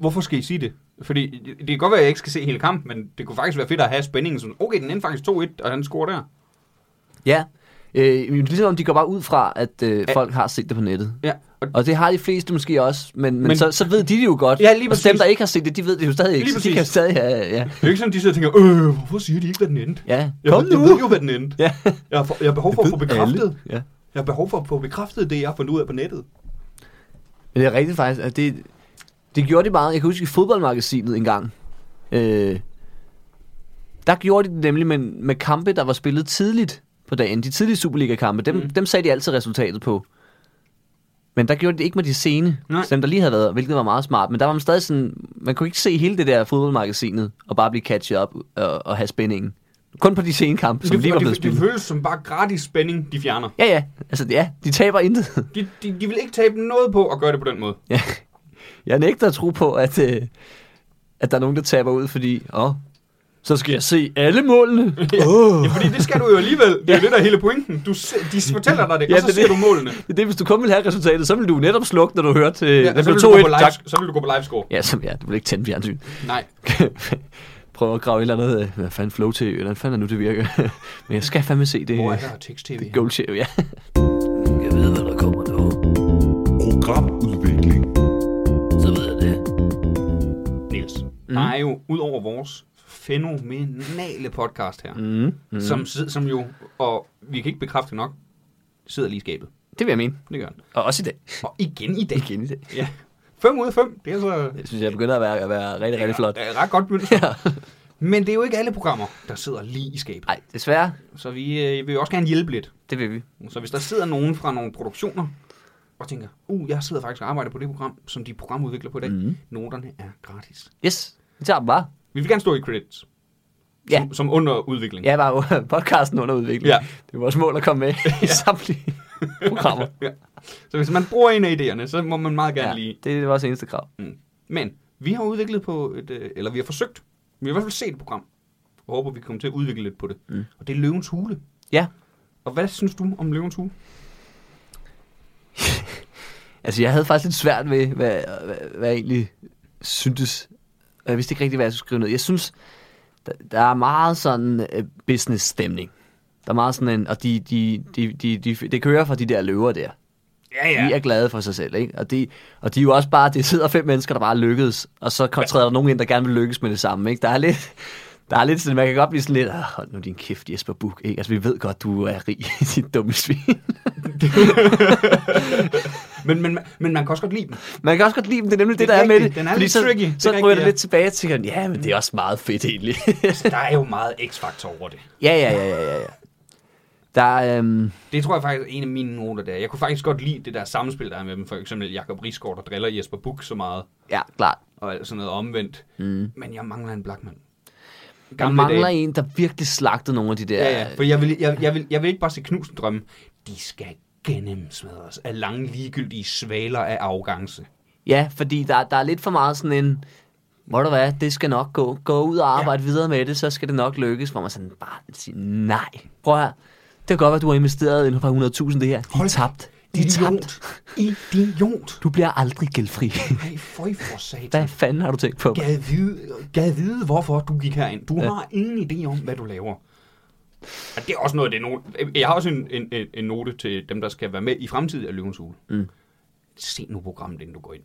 Hvorfor skal I sige det? Fordi det kan godt være, at jeg ikke skal se hele kampen, men det kunne faktisk være fedt at have spændingen. Sådan, okay, den endte faktisk 2-1, og han scorer der. Ja, øh, men ligesom om de går bare ud fra, at øh, folk har set det på nettet. Ja, og Og det har de fleste måske også, men, men, Men- men så, så ved de det jo godt. Ja, lige og dem, præcis. der ikke har set det, de ved det jo stadig ikke. Lige så præcis. de kan stadig, ja, ja, ja. det er jo ikke sådan, de sidder og tænker, øh, hvorfor siger de ikke, hvad den endte? ja. Jeg, Kom ved- jeg ved nu! jo, hvad den endte. Ja. Jeg har, for, jeg har behov for at få bekræftet. Ja. Jeg har behov for at få bekræftet det, jeg har fundet ud af på nettet. Men det er rigtigt faktisk, at det, det gjorde de meget. Jeg kan huske i fodboldmagasinet engang. Øh, der gjorde de det nemlig med, med kampe, der var spillet tidligt på dagen. De tidlige Superliga-kampe, dem, mm. dem sagde de altid resultatet på. Men der gjorde de det ikke med de sene, Nej. så dem der lige havde været, hvilket var meget smart. Men der var man stadig sådan, man kunne ikke se hele det der fodboldmagasinet, og bare blive catchet op og, og have spændingen. Kun på de sene kampe, som det, lige var og blevet det, det spillet. føles som bare gratis spænding, de fjerner. Ja, ja. Altså, ja, de taber intet. De, de, de vil ikke tabe noget på at gøre det på den måde. Ja. Jeg nægter at tro på, at, øh, at der er nogen, der taber ud, fordi... Åh, så skal jeg se alle målene. Åh. Ja, fordi det skal du jo alligevel. Det er jo det, der er hele pointen. Du, se- de fortæller dig det, Ja, og så det er ser det. Øh, du målene. Det er det, hvis du kun vil have resultatet, så vil du netop slukke, når du hørte... Øh, ja, Ja, den så, blev vil du gå på 2-1, tak. live, så vil du gå på livescore. Ja, som, ja, du vil ikke tænde fjernsyn. Nej. Prøv at grave et eller andet... Øh, hvad fanden flow til? Hvordan fanden er nu, det virker? Men jeg skal fandme se det. Hvor er der tekst-tv? Gold Show, ja. Jeg ved, hvad der kommer nu. Programudvikling. Så ved jeg det. Niels, mm. der er jo, ud over vores fænomenale podcast her, Mm, mm. Som, sid- som jo, og vi kan ikke bekræfte det nok, sidder lige i skabet. det vil jeg mene. Det gør den. Og også i dag. Og igen i dag. Igen i dag. Ja. 5 ud af 5, det er så Jeg synes, jeg begynder at være, at være rigtig, rigtig flot. Det er ret godt mønster. Men det er jo ikke alle programmer, der sidder lige i skabet. Nej, desværre. Så vi øh, vil jo også gerne hjælpe lidt. Det vil vi. Så hvis der sidder nogen fra nogle produktioner, og tænker, uh, jeg sidder faktisk og arbejder på det program, som de programudvikler på i dag. Mm. Noterne er gratis. Yes, vi tager dem bare. Vi vil gerne stå i credits. Ja. Som, som under udvikling. Ja, var podcasten under udvikling. Ja. Ja. Det er vores mål at komme med i samtlige programmer. Ja. Så hvis man bruger en af idéerne, så må man meget gerne ja. lige. det er vores eneste krav. Mm. Men vi har udviklet på et, øh, eller vi har forsøgt, vi har i hvert fald set et program, og håber, vi kommer til at udvikle lidt på det. Mm. Og det er Løvens Hule. Ja, Og hvad synes du om Løvens Hule? altså jeg havde faktisk lidt svært ved, hvad, hvad, hvad jeg egentlig syntes. Og Jeg vidste ikke rigtig, hvad jeg skulle skrive ned. Jeg synes, der, der er meget sådan øh, business-stemning. Der er meget sådan en, og de, de, de, de, de, det kører fra de der løver der. Ja, ja. De er glade for sig selv, ikke? Og de, og de er jo også bare, det sidder fem mennesker, der bare lykkedes, og så kom- træder der nogen ind, der gerne vil lykkes med det samme, ikke? Der er lidt... Der er lidt sådan, man kan godt blive sådan lidt, "Ah, hold nu din kæft, Jesper Buch, ikke? Altså, vi ved godt, du er rig, din dumme svin. Men, men, men man kan også godt lide dem. Man kan også godt lide dem, det er nemlig det, Det det er der er med rigtigt. det. Den er fordi lidt så, tricky. Det er Så ryger rigtigt, det ja. lidt tilbage til, at ja, men det er også meget fedt egentlig. Altså, Der er jo meget x-faktor over det. ja, ja, ja, ja, ja, ja. Der, øhm, Det tror jeg faktisk er en af mine noter der. Jeg kunne faktisk godt lide det der samspil, der er med dem. For eksempel Jakob Risgaard, der driller Jesper Buch så meget. ja, klart. Og alt sådan noget omvendt. Mm. Men jeg mangler en Blackman. Der mangler en, øh, der virkelig slagtede nogle af de der... Ja, ja. For jeg vil, jeg, jeg, vil, jeg vil ikke bare se knusen drømme. De skal gennemsmadres af lange, ligegyldige svaler af arrogance. Ja, fordi der, der er lidt for meget sådan en, må du hvad, det skal nok gå. Gå ud og arbejde ja. videre med det, så skal det nok lykkes. Hvor man sådan bare siger, nej, prøv her. Det kan godt være, du har investeret en par 100.000 det her. De er Hold tabt. De er tabt. Idiot. Idiot. Du bliver aldrig gældfri. Hey, føj for hvad satan. fanden har du tænkt på? Gad vide, gad vide, hvorfor du gik herind. Du ja. har ingen idé om, hvad du laver. Og det er også noget, det er no- Jeg har også en, en, en- en note til dem, der skal være med i fremtiden af Løvens Hule. Mm. Se nu programmet, inden du går ind.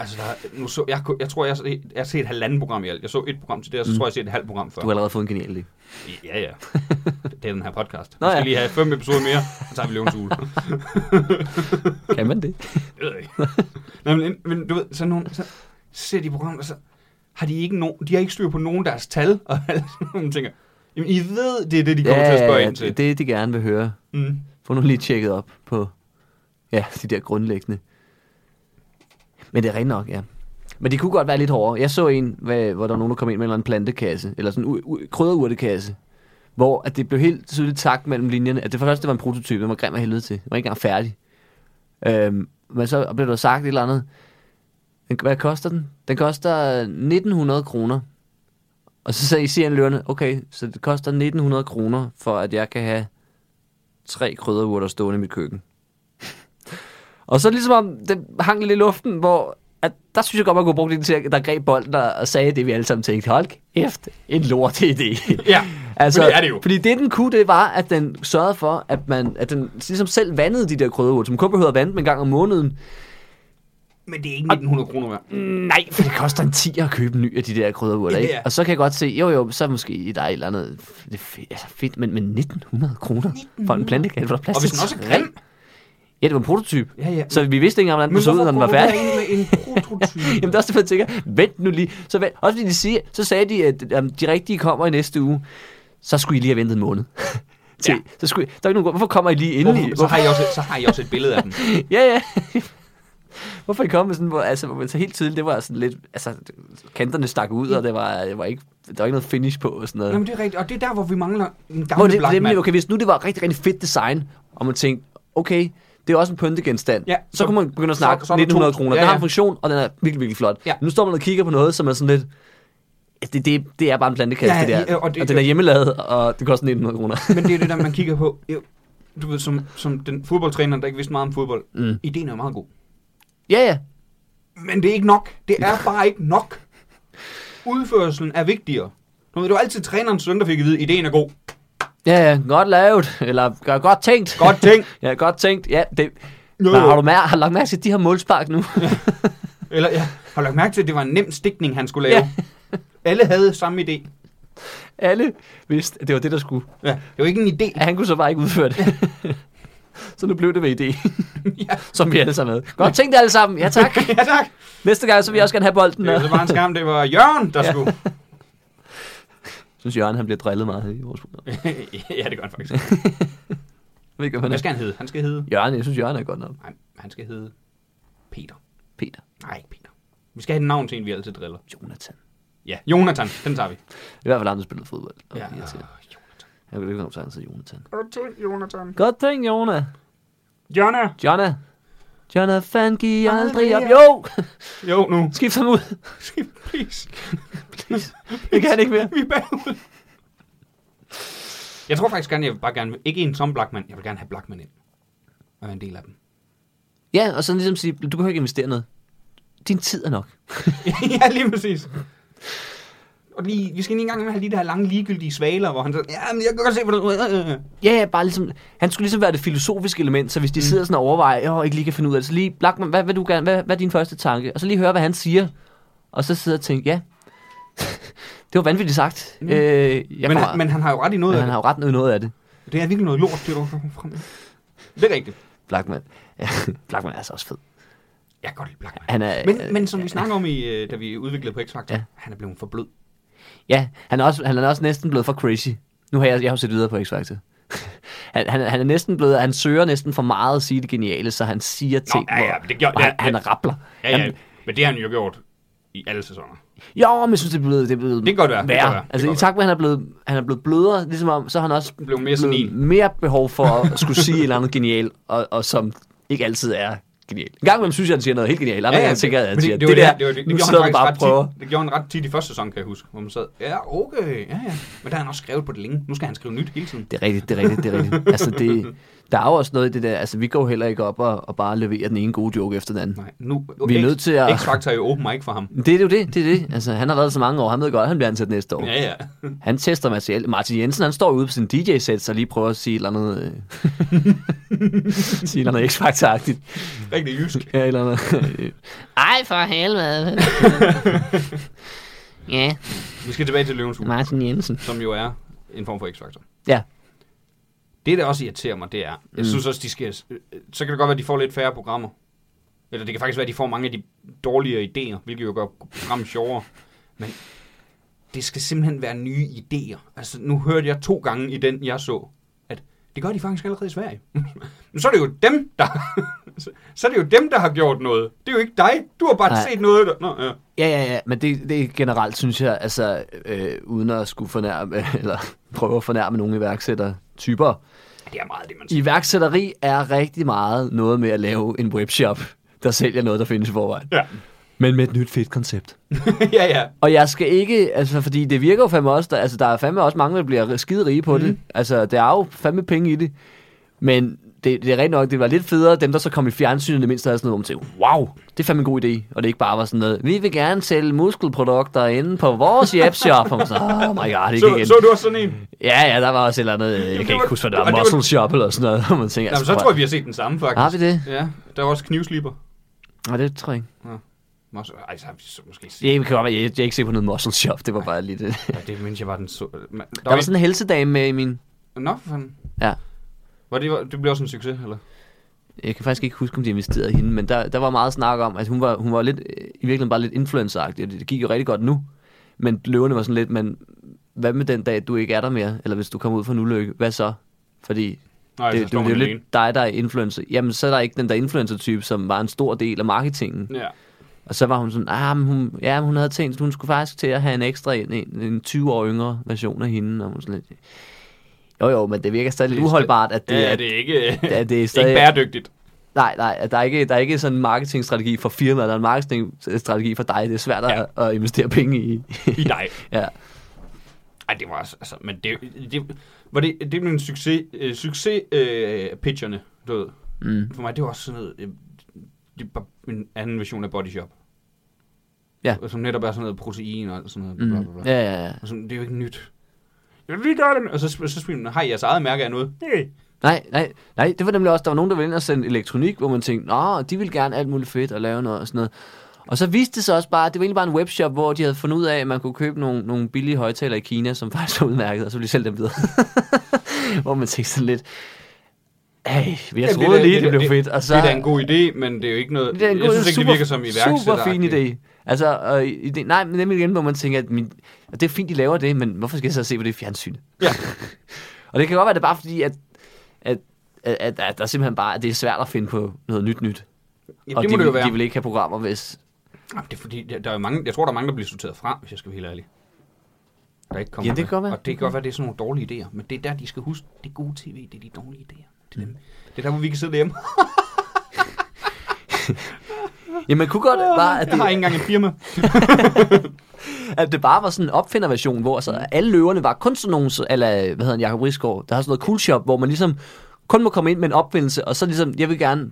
Altså, der, nu så, jeg, kunne- jeg tror, jeg, har set- jeg har set et halvanden program i alt. Jeg så et program til det, og så mm. tror jeg, jeg har set et halvt program før. Du har allerede fået en genial idé. Ja, ja. Det er den her podcast. Nå Nå, vi skal ja. ja. lige have fem episoder mere, så tager vi løvens hule. Det Kan man det? ved jeg ikke. Nå, men, men du ved, så, nogen, så ser de programmet, og så har de ikke, nogen, de har ikke styr på nogen af deres tal, og man tænker, jamen I ved, det er det, de kommer ja, til at spørge ja, ind til. det, Det. det de gerne vil høre. Mm. Få nu lige tjekket op på ja, de der grundlæggende. Men det er rent nok, ja. Men det kunne godt være lidt hårdere. Jeg så en, hvad, hvor der var nogen, der kom ind med en eller anden plantekasse, eller sådan en u- u- krydderurtekasse, hvor at det blev helt tydeligt sagt mellem linjerne, at det for det første det var en prototype, den var grim af helvede til. Den var ikke engang færdig. Øhm, men så blev der sagt et eller andet. Den, hvad koster den? Den koster 1900 kroner. Og så sagde- siger han løbende, okay, så det koster 1900 kroner, for at jeg kan have tre krydderurter stående i mit køkken. og så ligesom om, det hang lidt i luften, hvor at der synes jeg godt, man kunne bruge det til, at der greb bolden og, og sagde det, vi alle sammen tænkte, hold kæft, en lort idé. Ja, altså, for det er det jo. Fordi det, den kunne, det var, at den sørgede for, at, man, at den ligesom selv vandede de der krydderurter, som kun behøver at vande dem en gang om måneden. Men det er ikke 1900 kroner Mm. værd. Nej, for det koster en 10 at købe en ny af de der krydderurter, Ja. ikke? Og så kan jeg godt se, jo jo, så måske der er et eller andet det er fedt, altså fedt men, men 1900 kroner for en plantekasse, hvor der er plads Og hvis til den også er tre. grim, Ja, det var en prototyp. Ja, ja. Så vi vidste ikke engang, hvordan den men så ud, hvorfor når den var går du færdig. derind med en prototype? Jamen, det er også det, man tænker. Vent nu lige. Så, vent. Også fordi de siger, så sagde de, at um, de rigtige kommer i næste uge. Så skulle I lige have ventet en måned. Til. Ja. Så skulle I, der er ikke nogen grund. Hvorfor kommer I lige inden Hvorfor, så, har I også, så har I også et billede af den. Ja, ja. Hvorfor I kom med sådan, hvor, altså, hvor man så helt tidligt, det var sådan lidt, altså, kanterne stak ud, og det var, det var ikke, der var ikke noget finish på og sådan noget. Jamen, det er rigtigt, og det er der, hvor vi mangler en Hvor gammel det, det, Blackman. nemlig, okay, hvis nu det var rigtig, rigtig fedt design, og man tænkte, okay, det er også en pyntegenstand, Ja, så, så- så kunne man begynde at så- snakke så så, er der 1900 to- kroner. ja, Ja, Den har ja. en funktion, og den er virkelig, virkelig flot. Ja. Ja. Nu står man og kigger på noget, som er sådan lidt... ja, Det, det, det er bare en plantekasse, Ja, ja, det ja, der. og Og, det- det, og den er hjemmelavet, og det koster 1900 kroner. Men det er det der, man kigger på. Jo, Du ved, som, som den fodboldtræner, der ikke vidste meget om fodbold. Mm. Ideen er meget god. ja, ja. Men det er ikke nok. Det er bare ikke nok. Udførelsen er vigtigere. Du ved, det var altid træneren søn, der fik at vide, ideen er god. Ja, ja. Godt lavet. Eller gør- godt tænkt. Godt tænkt. ja, godt tænkt. Ja, det... Jo, Jo, jo. jo. Har du mær- har du lagt mærke til, at de har målspark nu? Eller, ja, har du lagt mærke til, at det var en nem stikning, han skulle lave? Alle havde samme idé. Alle vidste, at det var det, der skulle. Ja, det var ikke en idé. Ja, han kunne så bare ikke udføre det. så nu blev det ved idé, Ja, som vi alle sammen havde. Godt tænkt alle sammen. Ja, tak. ja tak. Næste gang, så vil jeg også gerne have bolden. Det var så bare en skam, det var Jørgen, der skulle. Jeg synes, Jørgen han bliver drillet meget i vores program. Jeg ja, det gør han faktisk. ved ikke, Hvad hvad han er. skal han hedde? Han skal hedde... Jørgen, jeg synes, Jørgen er godt nok. Nej, han skal hedde... Peter. Peter. Nej, ikke Peter. Vi skal have et navn til en, vi altid driller. Jonathan. Ja, Jonathan. Den tager vi. I hvert fald, han har spillet fodbold. Og Ja, ja. Jeg øh, Jonathan. kan ikke komme til, at han hedder Jonathan. Godt tænkt, Jonathan. Godt tænkt, Jona. Jonna. Jonna. Jonathan, giv aldrig op. op. Jo, Jo, nu. skift ham ud. Please. Det kan han ikke mere. Vi er bagud. Jeg tror faktisk gerne, jeg vil bare gerne... Ikke en som Blackman. Jeg vil gerne have Blackman ind. Og være en del af dem. Ja, og så ligesom sige, du behøver ikke investere noget. Din tid er nok. ja, lige præcis. godt lige, vi skal ikke engang have lige det her lange ligegyldige svaler, hvor han så, ja, men jeg kan godt se, hvordan du... Øh, Ja, ja, bare ligesom, han skulle ligesom være det filosofiske element, så hvis de mm. sidder sådan og overvejer, jeg ikke lige kan finde ud af det, så lige, Blackman, hvad, vil du gerne, hvad, hvad er din første tanke? Og så lige høre, hvad han siger, og så sidde og tænke, ja, det var vanvittigt sagt. Mm. Øh, jeg men, kommer, han, men han har jo ret i noget men af han det. har jo ret noget, noget af det, Det er virkelig noget lort, det du kommer frem med. Det er rigtigt. Blackman. Ja, Blackman er altså også fed. Jeg kan godt lide Blackman. Han er, øh, Men, men som vi snakker om, i, øh, da vi udviklede på X-Factor, Ja. ja. han er blevet for blød. Ja, han er, også, han er også næsten blevet for crazy. Nu har jeg, jeg har jo set videre på X-Factor. han, han, han, er næsten blevet, han søger næsten for meget at sige det geniale, så han siger ting, ja, ja, hvor- men det gjorde- hvor han, ja, han ja. rappler. Ja, ja, men det har han jo gjort i alle sæsoner. Jo, men jeg synes, det er blevet, det er blevet Det kan godt være, det kan værre. godt være, det altså, kan i godt takt med, at han er blevet, han er blevet blødere, ligesom om, så har han også Blev mere senil. mere behov for at skulle sige et eller andet genialt, og, og som ikke altid er genialt. En gang imellem synes jeg, han siger noget helt genialt. Andre ja, ja, gange tænker jeg, at han men siger, det, det, var der, det, det, var det, det, nu gjorde sidder han du faktisk bare ret og prøver. Tit, det gjorde han ret tit i første sæson, kan jeg huske, hvor man sad, ja, okay, ja, ja. Men der har han også skrevet på det længe. Nu skal han skrive nyt hele tiden. Det er rigtigt, det er rigtigt, det er rigtigt. Altså, det, der er jo også noget i det der, altså vi går jo heller ikke op og, og bare leverer den ene gode joke efter den anden. Nej, nu, Vi er X- nødt til at- X-Factor er jo open mic for ham. Men Det er jo det, det er det. Altså, han har været så mange år, han ved godt, at han bliver ansat næste år. Ja, ja. Han tester materiale. Martin Jensen, han står ude på sin DJ-sæt, og lige prøver at sige et eller andet... Øh, sige et eller andet X-Factor-agtigt. Rigtig jysk. Ja, et eller andet. øh. Ej, for helvede. ja, Vi skal tilbage til Løvens Hule, Martin Jensen. som jo er en form for X-Factor. ja, Det, der også irriterer mig, det er, jeg Mm. synes også, de skal, øh, øh, så kan det godt være, at de får lidt færre programmer. Eller det kan faktisk være, at de får mange af de dårligere idéer, hvilket jo gør programmet sjovere. Men det skal simpelthen være nye idéer. Altså, nu hørte jeg to gange i den, jeg så, at det gør de faktisk allerede i Sverige. Men så er det jo dem, der... så- så er det jo dem, der har gjort noget. Det er jo ikke dig. Du har bare Nej. set noget. Der... Nå, ja. Ja, ja, ja, men det, det er generelt, synes jeg, altså, øh, uden at skulle fornærme, eller prøve at fornærme nogle iværksættertyper. Det er meget det, man siger. Iværksætteri er rigtig meget noget med at lave en webshop, der sælger noget, der findes i forvejen. Ja, Men med et nyt fedt koncept. ja. ja. Og jeg skal ikke, altså fordi det virker jo fandme også, der, altså der er fandme også mange, der bliver skide rige på mm. Mhm. det. Altså der er jo fandme penge i det. Men det, det er rent nok, det var lidt federe, dem der så kom i fjernsynet, det mindste havde sådan noget, hvor man tænkte, wow, det er fandme en god idé. Og det ikke bare var sådan noget, vi vil gerne sælge muskelprodukter inde på vores webshop. Og man sådan, oh my god, ikke Så, igen. så du også sådan en? Ja, ja, der var også et eller andet, øh, jeg kan ikke var- huske, hvad det og var, det var- muscle shop eller sådan noget. hvor man tænker, Jamen, så tror jeg, vi har set den samme, faktisk. Har vi det? Ja, der er også knivslipper. Nej, det tror jeg ikke. Måske, ej, så har vi så måske set. Jeg, kan godt, være- jeg, jeg er ikke sikker på noget muscle shop, det var bare lige det. Ja, det mindste jeg var den så... Man, der, Der var sådan en helsedame med i min... en... Nå, for fanden. Ja. Var det, det blev også en succes, eller? Jeg kan faktisk ikke huske, om de investerede i hende, men der, der var meget snak om, at hun var, hun var lidt, øh, i virkeligheden bare lidt influenceragtig. og Det det gik jo rigtig godt nu, men løverne var sådan lidt, men hvad med den dag, du ikke er der mere? Eller hvis du kommer ud for en ulykke, hvad så? Fordi Nej, så det, det, det står er man jo alene. lidt dig, der er influencer. Jamen, så er der ikke den der influencer-type, som var en stor del af marketingen. Ja. Og så var hun sådan, ah, men hun, ja, men hun havde tænkt, at hun skulle faktisk til at have en ekstra, en, en, en 20 år yngre version af hende. Og hun sådan lidt, jo, jo, men det virker stadig lidt Det er sta- uholdbart, at det, ja, er, det er ikke, det er ikke stadig- bæredygtigt. Nej, nej, at der er ikke, der er ikke sådan en marketingstrategi for firmaet, der er en marketingstrategi for dig. Det er svært ja. at, at investere penge i. I dig. ja. Ej, det var også... Altså, men det, det, var det, det blev en succes... Øh, succes øh, pitcherne, du ved. Mm. For mig, det var også sådan noget... Øh, det er bare en anden version af Body Shop. Ja. Som netop er sådan noget protein og alt sådan noget. Mm. Bla, bla, bla. ja, ja, ja. Og sådan, det er jo ikke nyt. Ja, vi gør det. Og så, så spiller man, har I jeres eget mærke af noget? Nej. Nej, nej, nej, det var nemlig også, der var nogen, der ville ind og sende elektronik, hvor man tænkte, nå, de ville gerne alt muligt fedt og lave noget og sådan noget. Og så viste det sig også bare, det var egentlig bare en webshop, hvor de havde fundet ud af, at man kunne købe nogle, nogle billige højtaler i Kina, som faktisk var udmærket, og så ville de sælge dem videre. hvor man tænkte sådan lidt, hey, vi har Jamen, troet da- lige, det da- blev fedt. Altså- Og så, det er da en god idé, men det er jo ikke noget... Det er en god, jeg synes ikke, super, det virker som iværksætter. Super fin idé. Altså, og i det, nej, men nemlig igen, hvor man tænker, at min, at det er fint, de laver det, men hvorfor skal jeg så se på det i fjernsyn? Ja. og det kan godt være, det er bare fordi, at, at, at, at, at der simpelthen bare, at det er svært at finde på noget nyt nyt. Ja, og det de, må det jo vil- være. de vil ikke have programmer, hvis... Jamen, det er fordi, der, der er jo mange, jeg tror, der er mange, der bliver sorteret fra, hvis jeg skal være helt ærlig. Der ikke kommer Ja, det kan godt være. Og det kan godt være, det er sådan nogle dårlige idéer. Men det er der, de skal huske. Det er gode tv, det er de dårlige idéer. Det er, dem. det er der, hvor vi kan sidde derhjemme. Jamen, man kunne godt bare, at Øh, Jeg har ikke det, engang et firma. at det bare var sådan en opfinderversion, hvor Mm. så alle løverne var kun sådan nogle, så- eller hvad hedder han, Jacob Risgaard, der har sådan noget cool shop, hvor man ligesom kun må komme ind med en opfindelse, og så ligesom, jeg vil gerne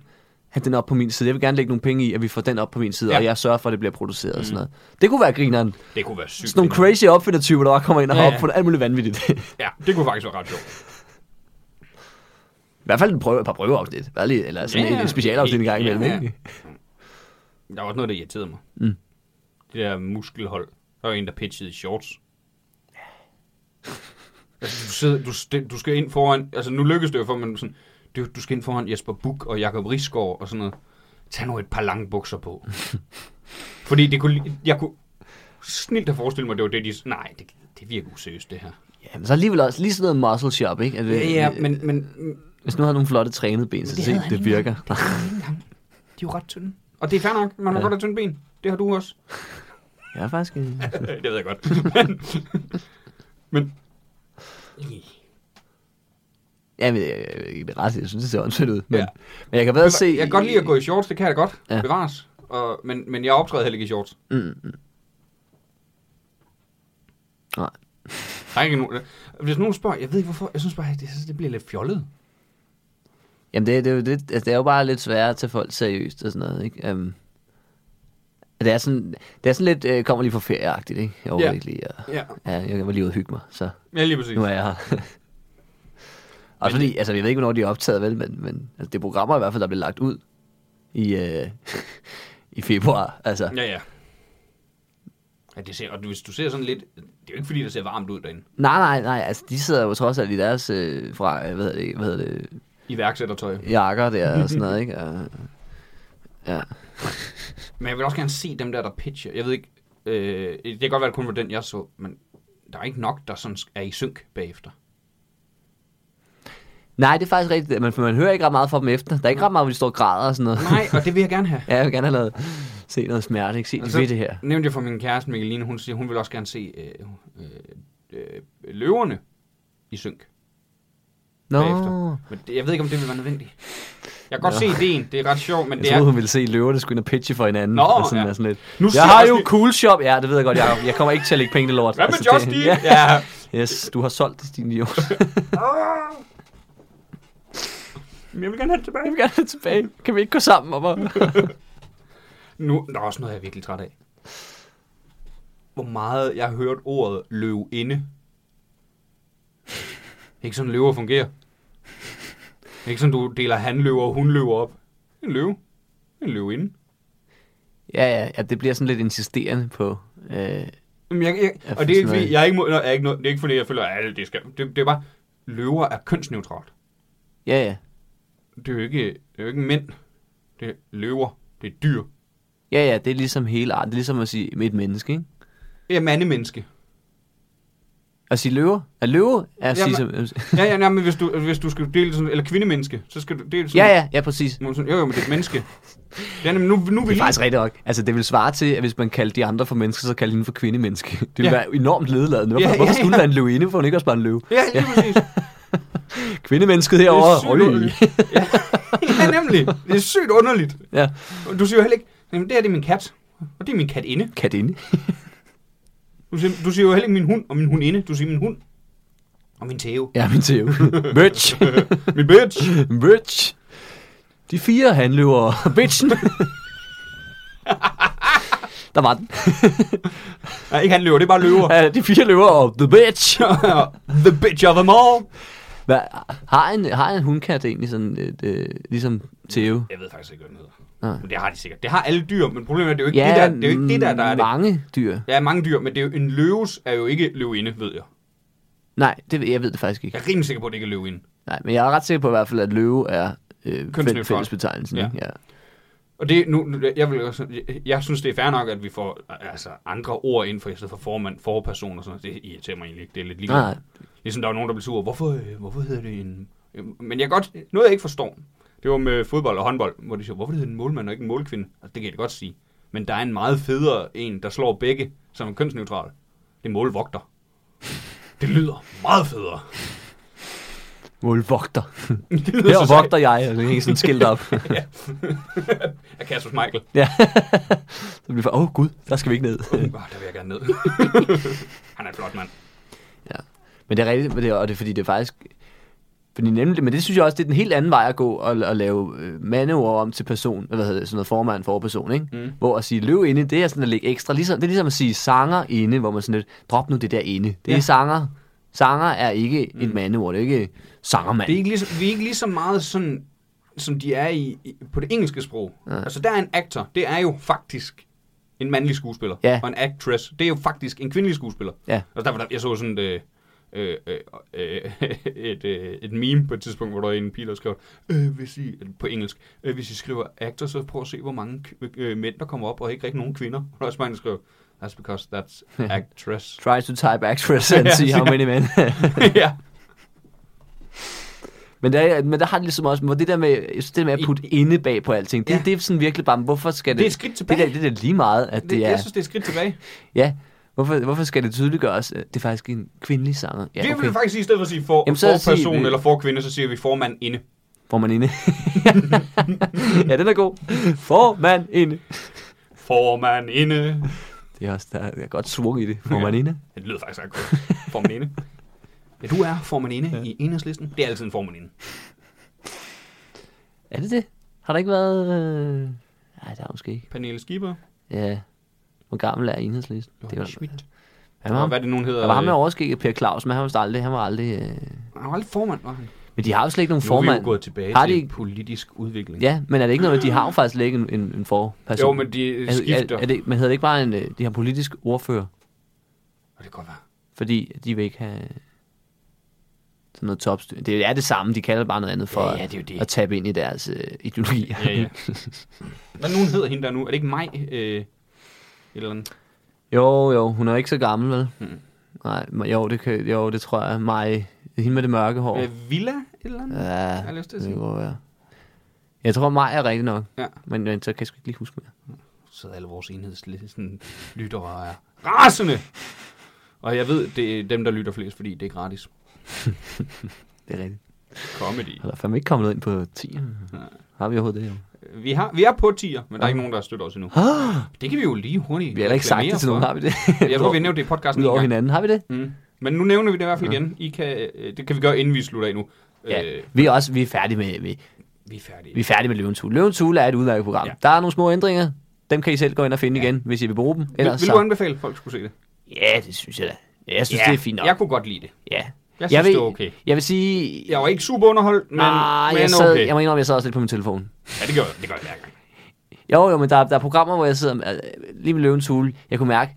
have den op på min side. Jeg vil gerne lægge nogle penge i, at vi får den op på min side, Ja. ja. og jeg sørger for, at det bliver produceret mm. og sådan noget. Det kunne være grineren. Det kunne være sygt. Sådan nogle crazy opfindertyper, der bare kommer ind og Ja, ja, ja. ja. på alt muligt vanvittigt. Ja, det kunne faktisk være ret sjovt. I hvert fald en prøve, et par prøveafsnit. Hvad er lige- Eller sådan Ja, ja, ja. en specialafsnit en gang Ja, imellem. ja. Ja, ja. Der var også noget, der irriterede mig. Mm. Det der muskelhold. Der var en, der pitchede i shorts. Altså, du, sidder, du, det- du skal ind foran... Altså, nu lykkes det jo for, men sådan... Du, du skal ind foran Jesper Buch og Jakob Risgaard og sådan noget. Tag nu et par lange bukser på. Fordi det kunne... li- Jeg kunne snilt at forestille mig, det var det, de... Nej, det, det virker useriøst, det her. ja, men så alligevel også lige sådan noget muscle shop, ikke? At, øh, men, men Hvis nu havde nogle flotte trænede ben, så Det se, havde han det ikke virker. De er jo ret tynde. Og det er fair nok, man har ja. Ja. godt have tynde ben. Det har du også. Jeg er faktisk... øh, det ved jeg godt. Men... men Ja, men øh, jeg, jeg, jeg, jeg, ret, jeg synes, det ser åndssvagt ud. Men, Ja. ja. men jeg kan bedre se... jeg kan godt lide at gå i shorts, det kan jeg da godt. Ja. Ja. Bevares. Og, men, men jeg optræder heller ikke i shorts. Mm, mm. Nej. Der er ikke nogen... Hvis nogen spørger, jeg ved ikke hvorfor, jeg synes bare, at det, det bliver lidt fjollet. Jamen, det, det, er jo lidt, altså, det er jo bare lidt sværere til folk seriøst og sådan noget, ikke? Um, det er sådan, det er sådan lidt, øh, kommer lige for ferieagtigt, ikke? Jeg overhovedet Ja. ikke lige, at- Ja, ja, jeg var lige ude og hygge mig, så ja lige præcis. nu er jeg her. og fordi, altså, jeg ved ikke, hvornår de er optaget, vel, men, men altså, det er programmer i hvert fald, der bliver lagt ud i, øh, i februar, altså. Ja, ja. ja det ser, og hvis du ser sådan lidt... Det er jo ikke fordi, det ser varmt ud derinde. Nej, nej, nej, altså, de sidder jo trods alt i deres, øh, fra, øh, hvad hedder det, hvad hedder det, Iværksættertøj. jakker der og sådan noget, ikke? Og, ja. Men jeg vil også gerne se dem der, der pitcher. Jeg ved ikke... Øh, det kan godt være, at det kun var den, jeg så, men der er ikke nok, der sådan er i synk bagefter. Nej, det er faktisk rigtigt. Man, man hører ikke ret meget fra dem efter. Der er ikke ret meget, hvor de står og græder og sådan noget. Nej, og det vil jeg gerne have. ja, jeg vil gerne have lavet, se noget smerte, ikke? Se, Og de så- ved det her. Nævnte jeg for min kæreste Mikkeline, hun siger, hun vil også gerne se øh, øh, øh, løverne i synk. Nå, bagefter. Men det, jeg ved ikke, om det vil være nødvendigt. Jeg kan godt se ideen, det er ret sjovt, men jeg det troede, er... hun ville se løverne skulle ind og pitche for hinanden. Nå, og sådan, ja. og sådan lidt. Nu Nu siger jeg har jeg jo også lige- cool shop. Ja, det ved jeg godt, Jacob. Jeg kommer ikke til at lægge penge i lort. Altså, Hvad med Just det, Eat? ja. Ja. Yes, du har solgt det, din idiot. Ah. Men jeg vil gerne have det Jeg vil tilbage. gerne have det tilbage. Kan vi ikke gå sammen om at... Nu, der er også noget, jeg er virkelig træt af. Hvor meget jeg har hørt ordet løvinde. Det er ikke sådan, løver fungerer. Det er ikke sådan, du deler hanløver og hunløver op. En løve. En løvinde. ja, ja, ja, det bliver sådan lidt insisterende på... Øh, Jamen, jeg, jeg, Jeg og det er ikke forstår fordi, ikke. jeg er ikke, mod- nå, jeg er ikke, noget, det er ikke fordi, jeg føler, at det skal. Det, det er bare, løver er kønsneutralt. ja, ja. Det er jo ikke, det er jo ikke mænd. Det er løver. Det er dyr. Ja, ja, det er ligesom hele arten. Det er ligesom at sige et menneske, ikke? Det er mandemenneske. At sige løver. At løve er at sige Jamen- som... Ja, ja, nej, men hvis du, hvis du skal dele sådan, eller kvindemenneske, så skal du dele sådan. Ja, ja, ja, præcis. Må man sådan, Jo, jo, men det er et menneske. Det er, nemlig- nu, nu Det vil er faktisk rigtigt nok. Altså, det vil svare til, at hvis man kaldte de andre for mennesker, så kaldte hende for kvindemenneske. Det ville Ja. ja. være enormt ledeladende. Hvorfor, Ja, ja, ja, ja, hvorfor ja. skulle det være en løvinde, for hun ikke også bare en løve? Ja, lige præcis. Kvindemennesket Det er herovre. sygt underligt. Øj. Ja. ja, nemlig. Det er sygt underligt. Ja. Du siger jo heller ikke, jamen, det her det er min kat. Og det er min katinde. Katinde. Du siger, du siger jo heller ikke min hund og min hundinde. Du siger min hund og min tæve. Ja, min tæve. Bitch. min bitch. Bitch. De fire handløver. Bitchen. Der var den. Nej, ikke han løver, det er bare løver. Ja, de fire løver og the bitch. The bitch of them all. Hvad, har, en, har en hundkat egentlig sådan, et, øh, ligesom Theo? Jeg ved faktisk ikke, hvad den hedder. Nej. Men det har de sikkert. Det har alle dyr, men problemet er, det er jo ikke, det, der, det er jo ikke det der, der er det. mange dyr. Der er mange dyr, men det er jo, en løves er jo ikke løvinde, ved jeg. Nej, det, ved- jeg ved det faktisk ikke. Jeg er rimelig sikker på, at det ikke er løvinde. Nej, men jeg er ret sikker på i hvert fald, at løve er øh, Kønsneutral. fæl- fællesbetegnelsen. Ja. Ja. Ja. Og det, nu, nu- jeg, vil også, jeg, jeg synes, det er fair nok, at vi får altså, andre ord ind for, i stedet for formand, forperson og sådan noget. Det irriterer mig egentlig ikke. Det er lidt lige Nej, nej. Ligesom der var nogen, der blev sur. Hvorfor, øh, hvorfor hedder det en... Men jeg godt... Noget, jeg ikke forstår, det var med fodbold og håndbold, hvor de siger, hvorfor hedder det en målmand og ikke en målkvinde? Altså, det kan jeg da godt sige. Men der er en meget federe en, der slår begge, som er kønsneutral. Det er målvogter. Det lyder meget federe. Målvogter. Det lyder så Her sejt. vogter jeg, og det er ikke sådan skilt op. Af Cassius Michael. ja. så bliver det for, åh oh, gud, der skal vi ikke ned. Oh, der vil jeg gerne ned. Han er en flot mand. Men det er rigtigt, men det er, og det er fordi, det er faktisk... Fordi nemlig, men det synes jeg også, det er den helt anden vej at gå og, og lave øh, mandeord om til person, hvad hedder det, sådan noget formand for person, ikke? Mm. Hvor at sige løv inde, det er sådan at lægge ekstra. Ligesom, det er ligesom at sige sanger inde, hvor man sådan lidt, drop nu det der inde. Det ja. Ja. er sanger. Sanger er ikke mm. et mandeord, det er ikke sangermand. Det er ikke lige, så- vi er ikke lige så meget sådan, som de er i, i, på det engelske sprog. Ja. Altså, der er en actor, det er jo faktisk en mandlig skuespiller. Ja. Og en actress, det er jo faktisk en kvindelig skuespiller. Ja. Og der, var der, jeg så sådan et, øh, øh, øh, et, øh, et meme på et tidspunkt, hvor der var en pige, der skrev, øh, hvis I, på engelsk, øh, hvis I skriver actor, så prøv at se, hvor mange kv- øh, mænd, der kommer op, og ikke rigtig nogen kvinder. Og der er også mange, der skrev, that's because that's actress. Try to type actress and Ja, see how ja. many men. ja. men, der, er- men der har det ligesom også, hvor det der med, jeg synes, det der med at putte inde bag på alting, det, ja. Ja. det er sådan virkelig bare, hvorfor skal det... Det er et skridt tilbage. Det, der, det er da lige meget, at det, Det, det, er... jeg synes, det er et skridt tilbage. Ja, hvorfor, hvorfor skal det tydeliggøres? at Det er faktisk en kvindelig sanger. Ja, Ja, okay. Vi okay. vil faktisk sige, i stedet for at sige for, Jamen, Jamen, så for sig- person eller for kvinde, så siger vi formand inde. Formand inde. ja, den er god. Formand inde. Formand inde. Det er også, der er godt svung i det. Formand inde. Det lyder faktisk ret godt. Formand inde. Ja, du er formand inde ja. i enhedslisten. Det er altid en formand inde. Er det det? Har der ikke været... Øh... Nej, det har måske ikke. Pernille Skipper. Ja. Hvor gammel er enhedslisten? Det var Schmidt. han var, Og ham, hvad er det, nogen hedder? øh, der var ham med overskægget, Per Claus, men han var vist aldrig... Han var aldrig øh... Han var aldrig formand, var han. Men de har jo slet ikke nogen Nu er vi formand. jo gået tilbage Har har de til ikke- politisk udvikling. Ja, men er det ikke noget, de har jo faktisk ikke en, en, en forperson? Jo, men de øh, er, skifter. er, er det, men hedder det ikke bare en... øh, De har politisk ordfører? Og det kan godt være. fordi de vil ikke have sådan noget topstyr. Det er det samme, de kalder det bare noget andet for Ja, ja, det er jo det. at tabe ind i deres øh, ideologier. Ja, ja. Hvad er nogen hedder hende der nu? Er det ikke mig? Øh, et eller andet. jo, jo, hun er ikke så gammel, vel? Hmm. Mm. Nej, men jo det, kan, jo, det tror jeg. Mig, hende med det mørke hår. Øh, Øh, Villa? Et eller andet? ja, jeg har lyst til at det sige. må være. Jeg tror, mig er rigtig nok, Ja. men, men så kan jeg sgu ikke lige huske mere. sidder alle vores enhedslisten lyttere og er rasende. Og jeg ved, det er dem, der lytter flest, fordi det er gratis. Det er rigtigt. Comedy. Og der er fandme ikke kommet noget ind på 10. Har vi overhovedet det? Jo? Vi, har, vi er på 10'er, men der er ikke nogen, der støtter os endnu. Det kan vi jo lige hurtigt Ah. Vi har da ikke sagt det reklamere til nogen, for. har vi det? Jeg tror, vi nævnte det i podcasten Udover en gang. hinanden, har vi det? Mm. Men nu nævner vi det i hvert fald igen. I kan, øh, det kan vi gøre, inden vi slutter af nu. Ja, Øh, vi er også vi er færdige med, vi, vi er færdige. Vi er færdige med Løvens Hule. Løvens Hule er et udmærket program. Ja. Ja. Der er nogle små ændringer. Dem kan I selv gå ind og finde ja. Ja. igen, hvis I vil bruge dem. vil, Ellers vil du så... anbefale, at folk skulle se det? Ja, det synes jeg da. Ja, Jeg synes, ja. det er fint nok. Jeg kunne godt lide det. Ja. Jeg synes, vil, det var okay. Jeg vil sige... Jeg var ikke super underholdt, men, ah, men jeg, sad, okay. jeg må indrømme, jeg sad også lidt på min telefon. Ja, det gør jeg. Det gør jeg hver gang. Jo, jo, men der, er- der er programmer, hvor jeg sidder med, øh, lige med Løvens Hule. Jeg kunne mærke,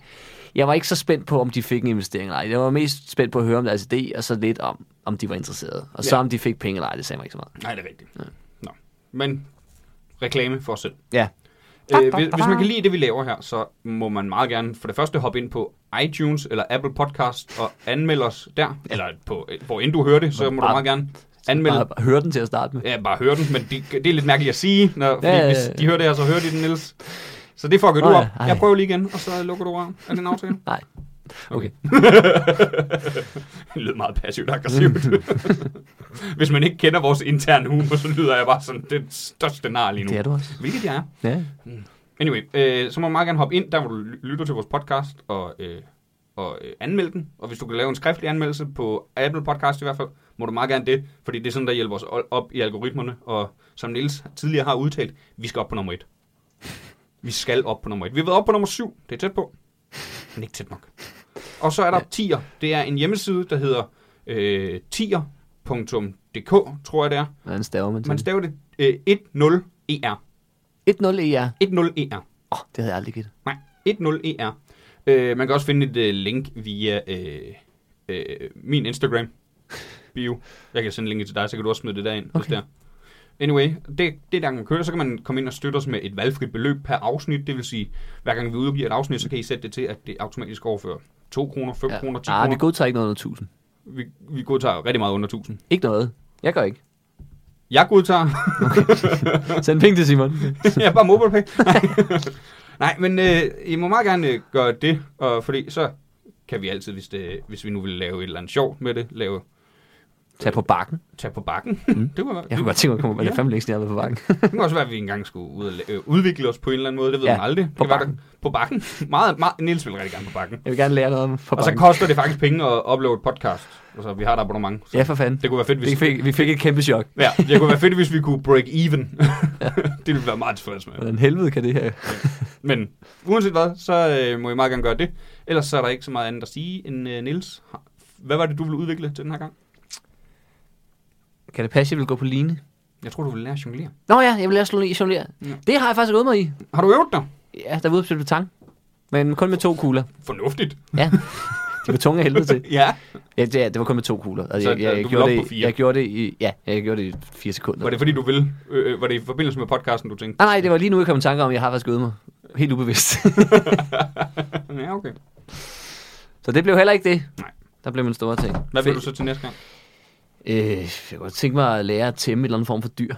jeg var ikke så spændt på, om de fik en investering eller ej. Jeg var mest spændt på at høre om deres idé, og så lidt om, om de var interesserede. Og så Ja. om de fik penge eller ej, det sagde mig ikke så meget. Nej, det er rigtigt. Ja. Nå. Men reklame for os selv. Ja, Øh, hvis, hvis man kan lide det, vi laver her, så må man meget gerne for det første hoppe ind på iTunes eller Apple Podcast og anmelde os der. Eller på, hvor end du hører det, så må du Bare- meget gerne anmelde. bare, bare høre den til at starte med. Ja, bare høre den, men det, det er lidt mærkeligt at sige, når, fordi Ja, ja, ja. hvis de hører det her, så hører de den ellers. Så det fucker du Nå ja, op. ej. Jeg prøver lige igen, og så lukker du røven. Er det en aftale? Nej. Okay. Det lyder meget passivt og aggressivt. hvis man ikke kender vores interne humor, så lyder jeg bare sådan den største nar lige nu. Det er du også. Hvilket jeg er. Ja. Anyway, øh, så må du meget gerne hoppe ind, der hvor du ly- lytter til vores podcast, og, øh, og øh, anmelde den. Og hvis du kan lave en skriftlig anmeldelse på Apple Podcast i hvert fald, må du meget gerne det, fordi det er sådan, der hjælper os o- op i algoritmerne. Og som Niels tidligere har udtalt, vi skal op på nummer et. Vi skal op på nummer et. Vi har været op på nummer syv, det er tæt på, men ikke tæt nok. Og så er der ja. tier. Det er en hjemmeside, der hedder øh, tier.dk, tror jeg det er. Hvordan staver man til Man det? staver det øh, 10er. 1-0 ER. 10er. Åh, oh, det havde jeg aldrig givet. Nej, 10ER. Øh, man kan også finde et øh, link via øh, øh, min Instagram bio. Jeg kan sende linket til dig, så kan du også smide det der ind. Okay. Der. Anyway, det, det er der, man kører. Så kan man komme ind og støtte os med et valgfrit beløb per afsnit. Det vil sige, hver gang vi udgiver et afsnit, så kan I sætte det til, at det automatisk overfører 2 kroner, 5 ja. kroner, 10 ah, kroner. vi godtager ikke noget under 1000. vi, vi godtager rigtig meget under 1000. Ikke noget. Jeg gør ikke. Jeg godtager Send penge til Simon. ja, bare MobilePay. Nej. Nej, men øh, I må meget gerne øh, gøre det, og fordi så kan vi altid, hvis, det, hvis vi nu vil lave et eller andet sjovt med det, lave Tag på bakken. tage på bakken. Mm. det, kunne være, Jeg det, kunne godt tænke mig at komme, men det er fandme længe siden, jeg har været på bakken. det kunne også være, at vi engang skulle ud og la- øh, udvikle os på en eller anden måde. Det ved Ja, man aldrig. Det på kan være, bakken. Der, på bakken. meget, meget, Niels vil rigtig gerne på bakken. Jeg vil gerne lære noget på Og så bakken. koster det faktisk penge at uploade podcast. Altså, vi har et abonnement. Så Ja, for fanden. Det kunne være fedt, hvis... Vi fik, vi fik et kæmpe chok. Ja, det kunne være fedt, hvis vi kunne break even. det ville være meget tilfreds med. Hvordan helvede kan det her? Men uanset hvad, så øh, må I meget gerne gøre det. Ellers så er der ikke så meget andet at sige end øh, Nils. Hvad var det, du ville udvikle til den her gang? Kan det passe, at jeg vil gå på line? Jeg tror, du ville lære at jonglere. Nå ja, jeg vil lære at slå jonglere. Ja. Det har jeg faktisk gået mig i. Har du øvet dig? Ja, der var ude på betang. Men kun med to kugler. Fornuftigt. Ja. De var tunge af helvede til. Ja. Ja, det, ja, det var kun med to kugler. Altså, Så, jeg, jeg, øh, jeg, du vil gjorde op det, på i- fire? jeg gjorde det i, ja, jeg gjorde det i fire sekunder. Var det fordi, du ville? Øh, øh, var det i forbindelse med podcasten, du tænkte? Nej, nej, det var lige nu, jeg kom i tanke om, at jeg har faktisk gået mig. Helt ubevidst. Ja, okay. så det blev heller ikke det. Nej. Der blev min store ting. Hvad vil du så til næste gang? Øh, jeg kunne godt tænke mig at lære at tæmme et eller andet form for dyr.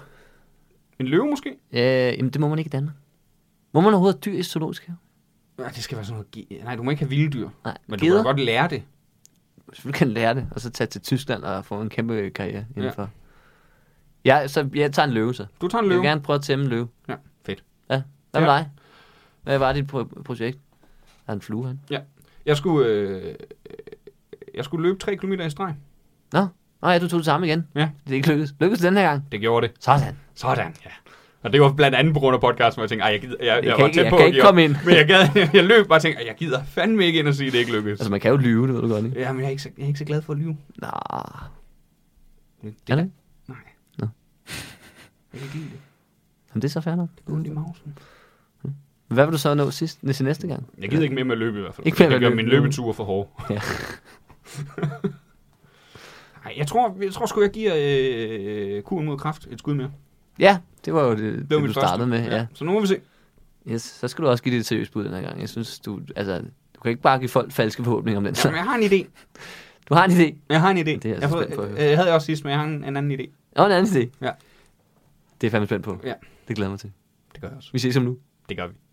En løve måske? Øh, jamen, det må man ikke i Danmark. Må man overhovedet have dyr i zoologisk have? Nej, det skal være sådan noget... ge- Nej, du må ikke have vilde dyr. Nej, Men du kan geder. jo godt lære det. Selvfølgelig kan jeg lære det, og så tage til Tyskland og få en kæmpe karriere indenfor. Ja. Ja. Jeg, så jeg tager en løve, så. Du tager en Jeg løve. vil gerne prøve at tæmme en løve. Ja, fedt. Ja, hvad med Ja. dig? Hvad var dit pro- projekt? Er en flue, han? Ja. Jeg skulle... Øh, øh, jeg skulle løbe 3 km i streg. Nå, Nå ja, du tog det samme igen. Ja. Det er ikke lykkedes. Lykkedes den her gang? Det gjorde det. Sådan. Sådan, ja. Og det var blandt andet på grund af podcasten, hvor jeg tænkte, "Ej, jeg, gider, jeg, jeg, kan var ikke- tæt jeg på kan at ikke give op." komme ind. Men jeg, gad, jeg løb bare og tænkte, "Ej, jeg gider fandme ikke ind og sige, at det ikke lykkedes. Altså, man kan jo lyve, det ved du godt, ikke? Ja, men jeg er ikke så, jeg er ikke så glad for at lyve. Nå, Det, er det? ikke? Nej. Nå. Jeg kan ikke lide det. Jamen, det er så fair nok. Det er ondt i mausen. Hvad vil du så nå sidst, til næste gang? Jeg gider ikke mere med at løbe i hvert fald. Ikke mere det med at gør min løbe. løbetur for hård. Ja. Nej, jeg tror, jeg tror sgu, jeg giver øh, kuren mod kraft et skud mere. Det Ja, det var jo det, det, var det du mit startede med. første. Ja. Så nu må vi se. Yes, så skal du også give det et seriøst bud den her gang. Jeg synes, du, altså, du kan ikke bare give folk falske forhåbninger om den. Jamen, slags. jeg har en idé. Du har en idé. Jeg har en idé. Det er jeg jeg så fået- spændt på at høre. øh, jeg havde jeg også sidst, men jeg har en, en anden idé. Og en anden idé. Ja. Det er jeg fandme spændt på. Ja. Det glæder jeg mig til. Det gør jeg også. Vi ses om nu. Det gør vi.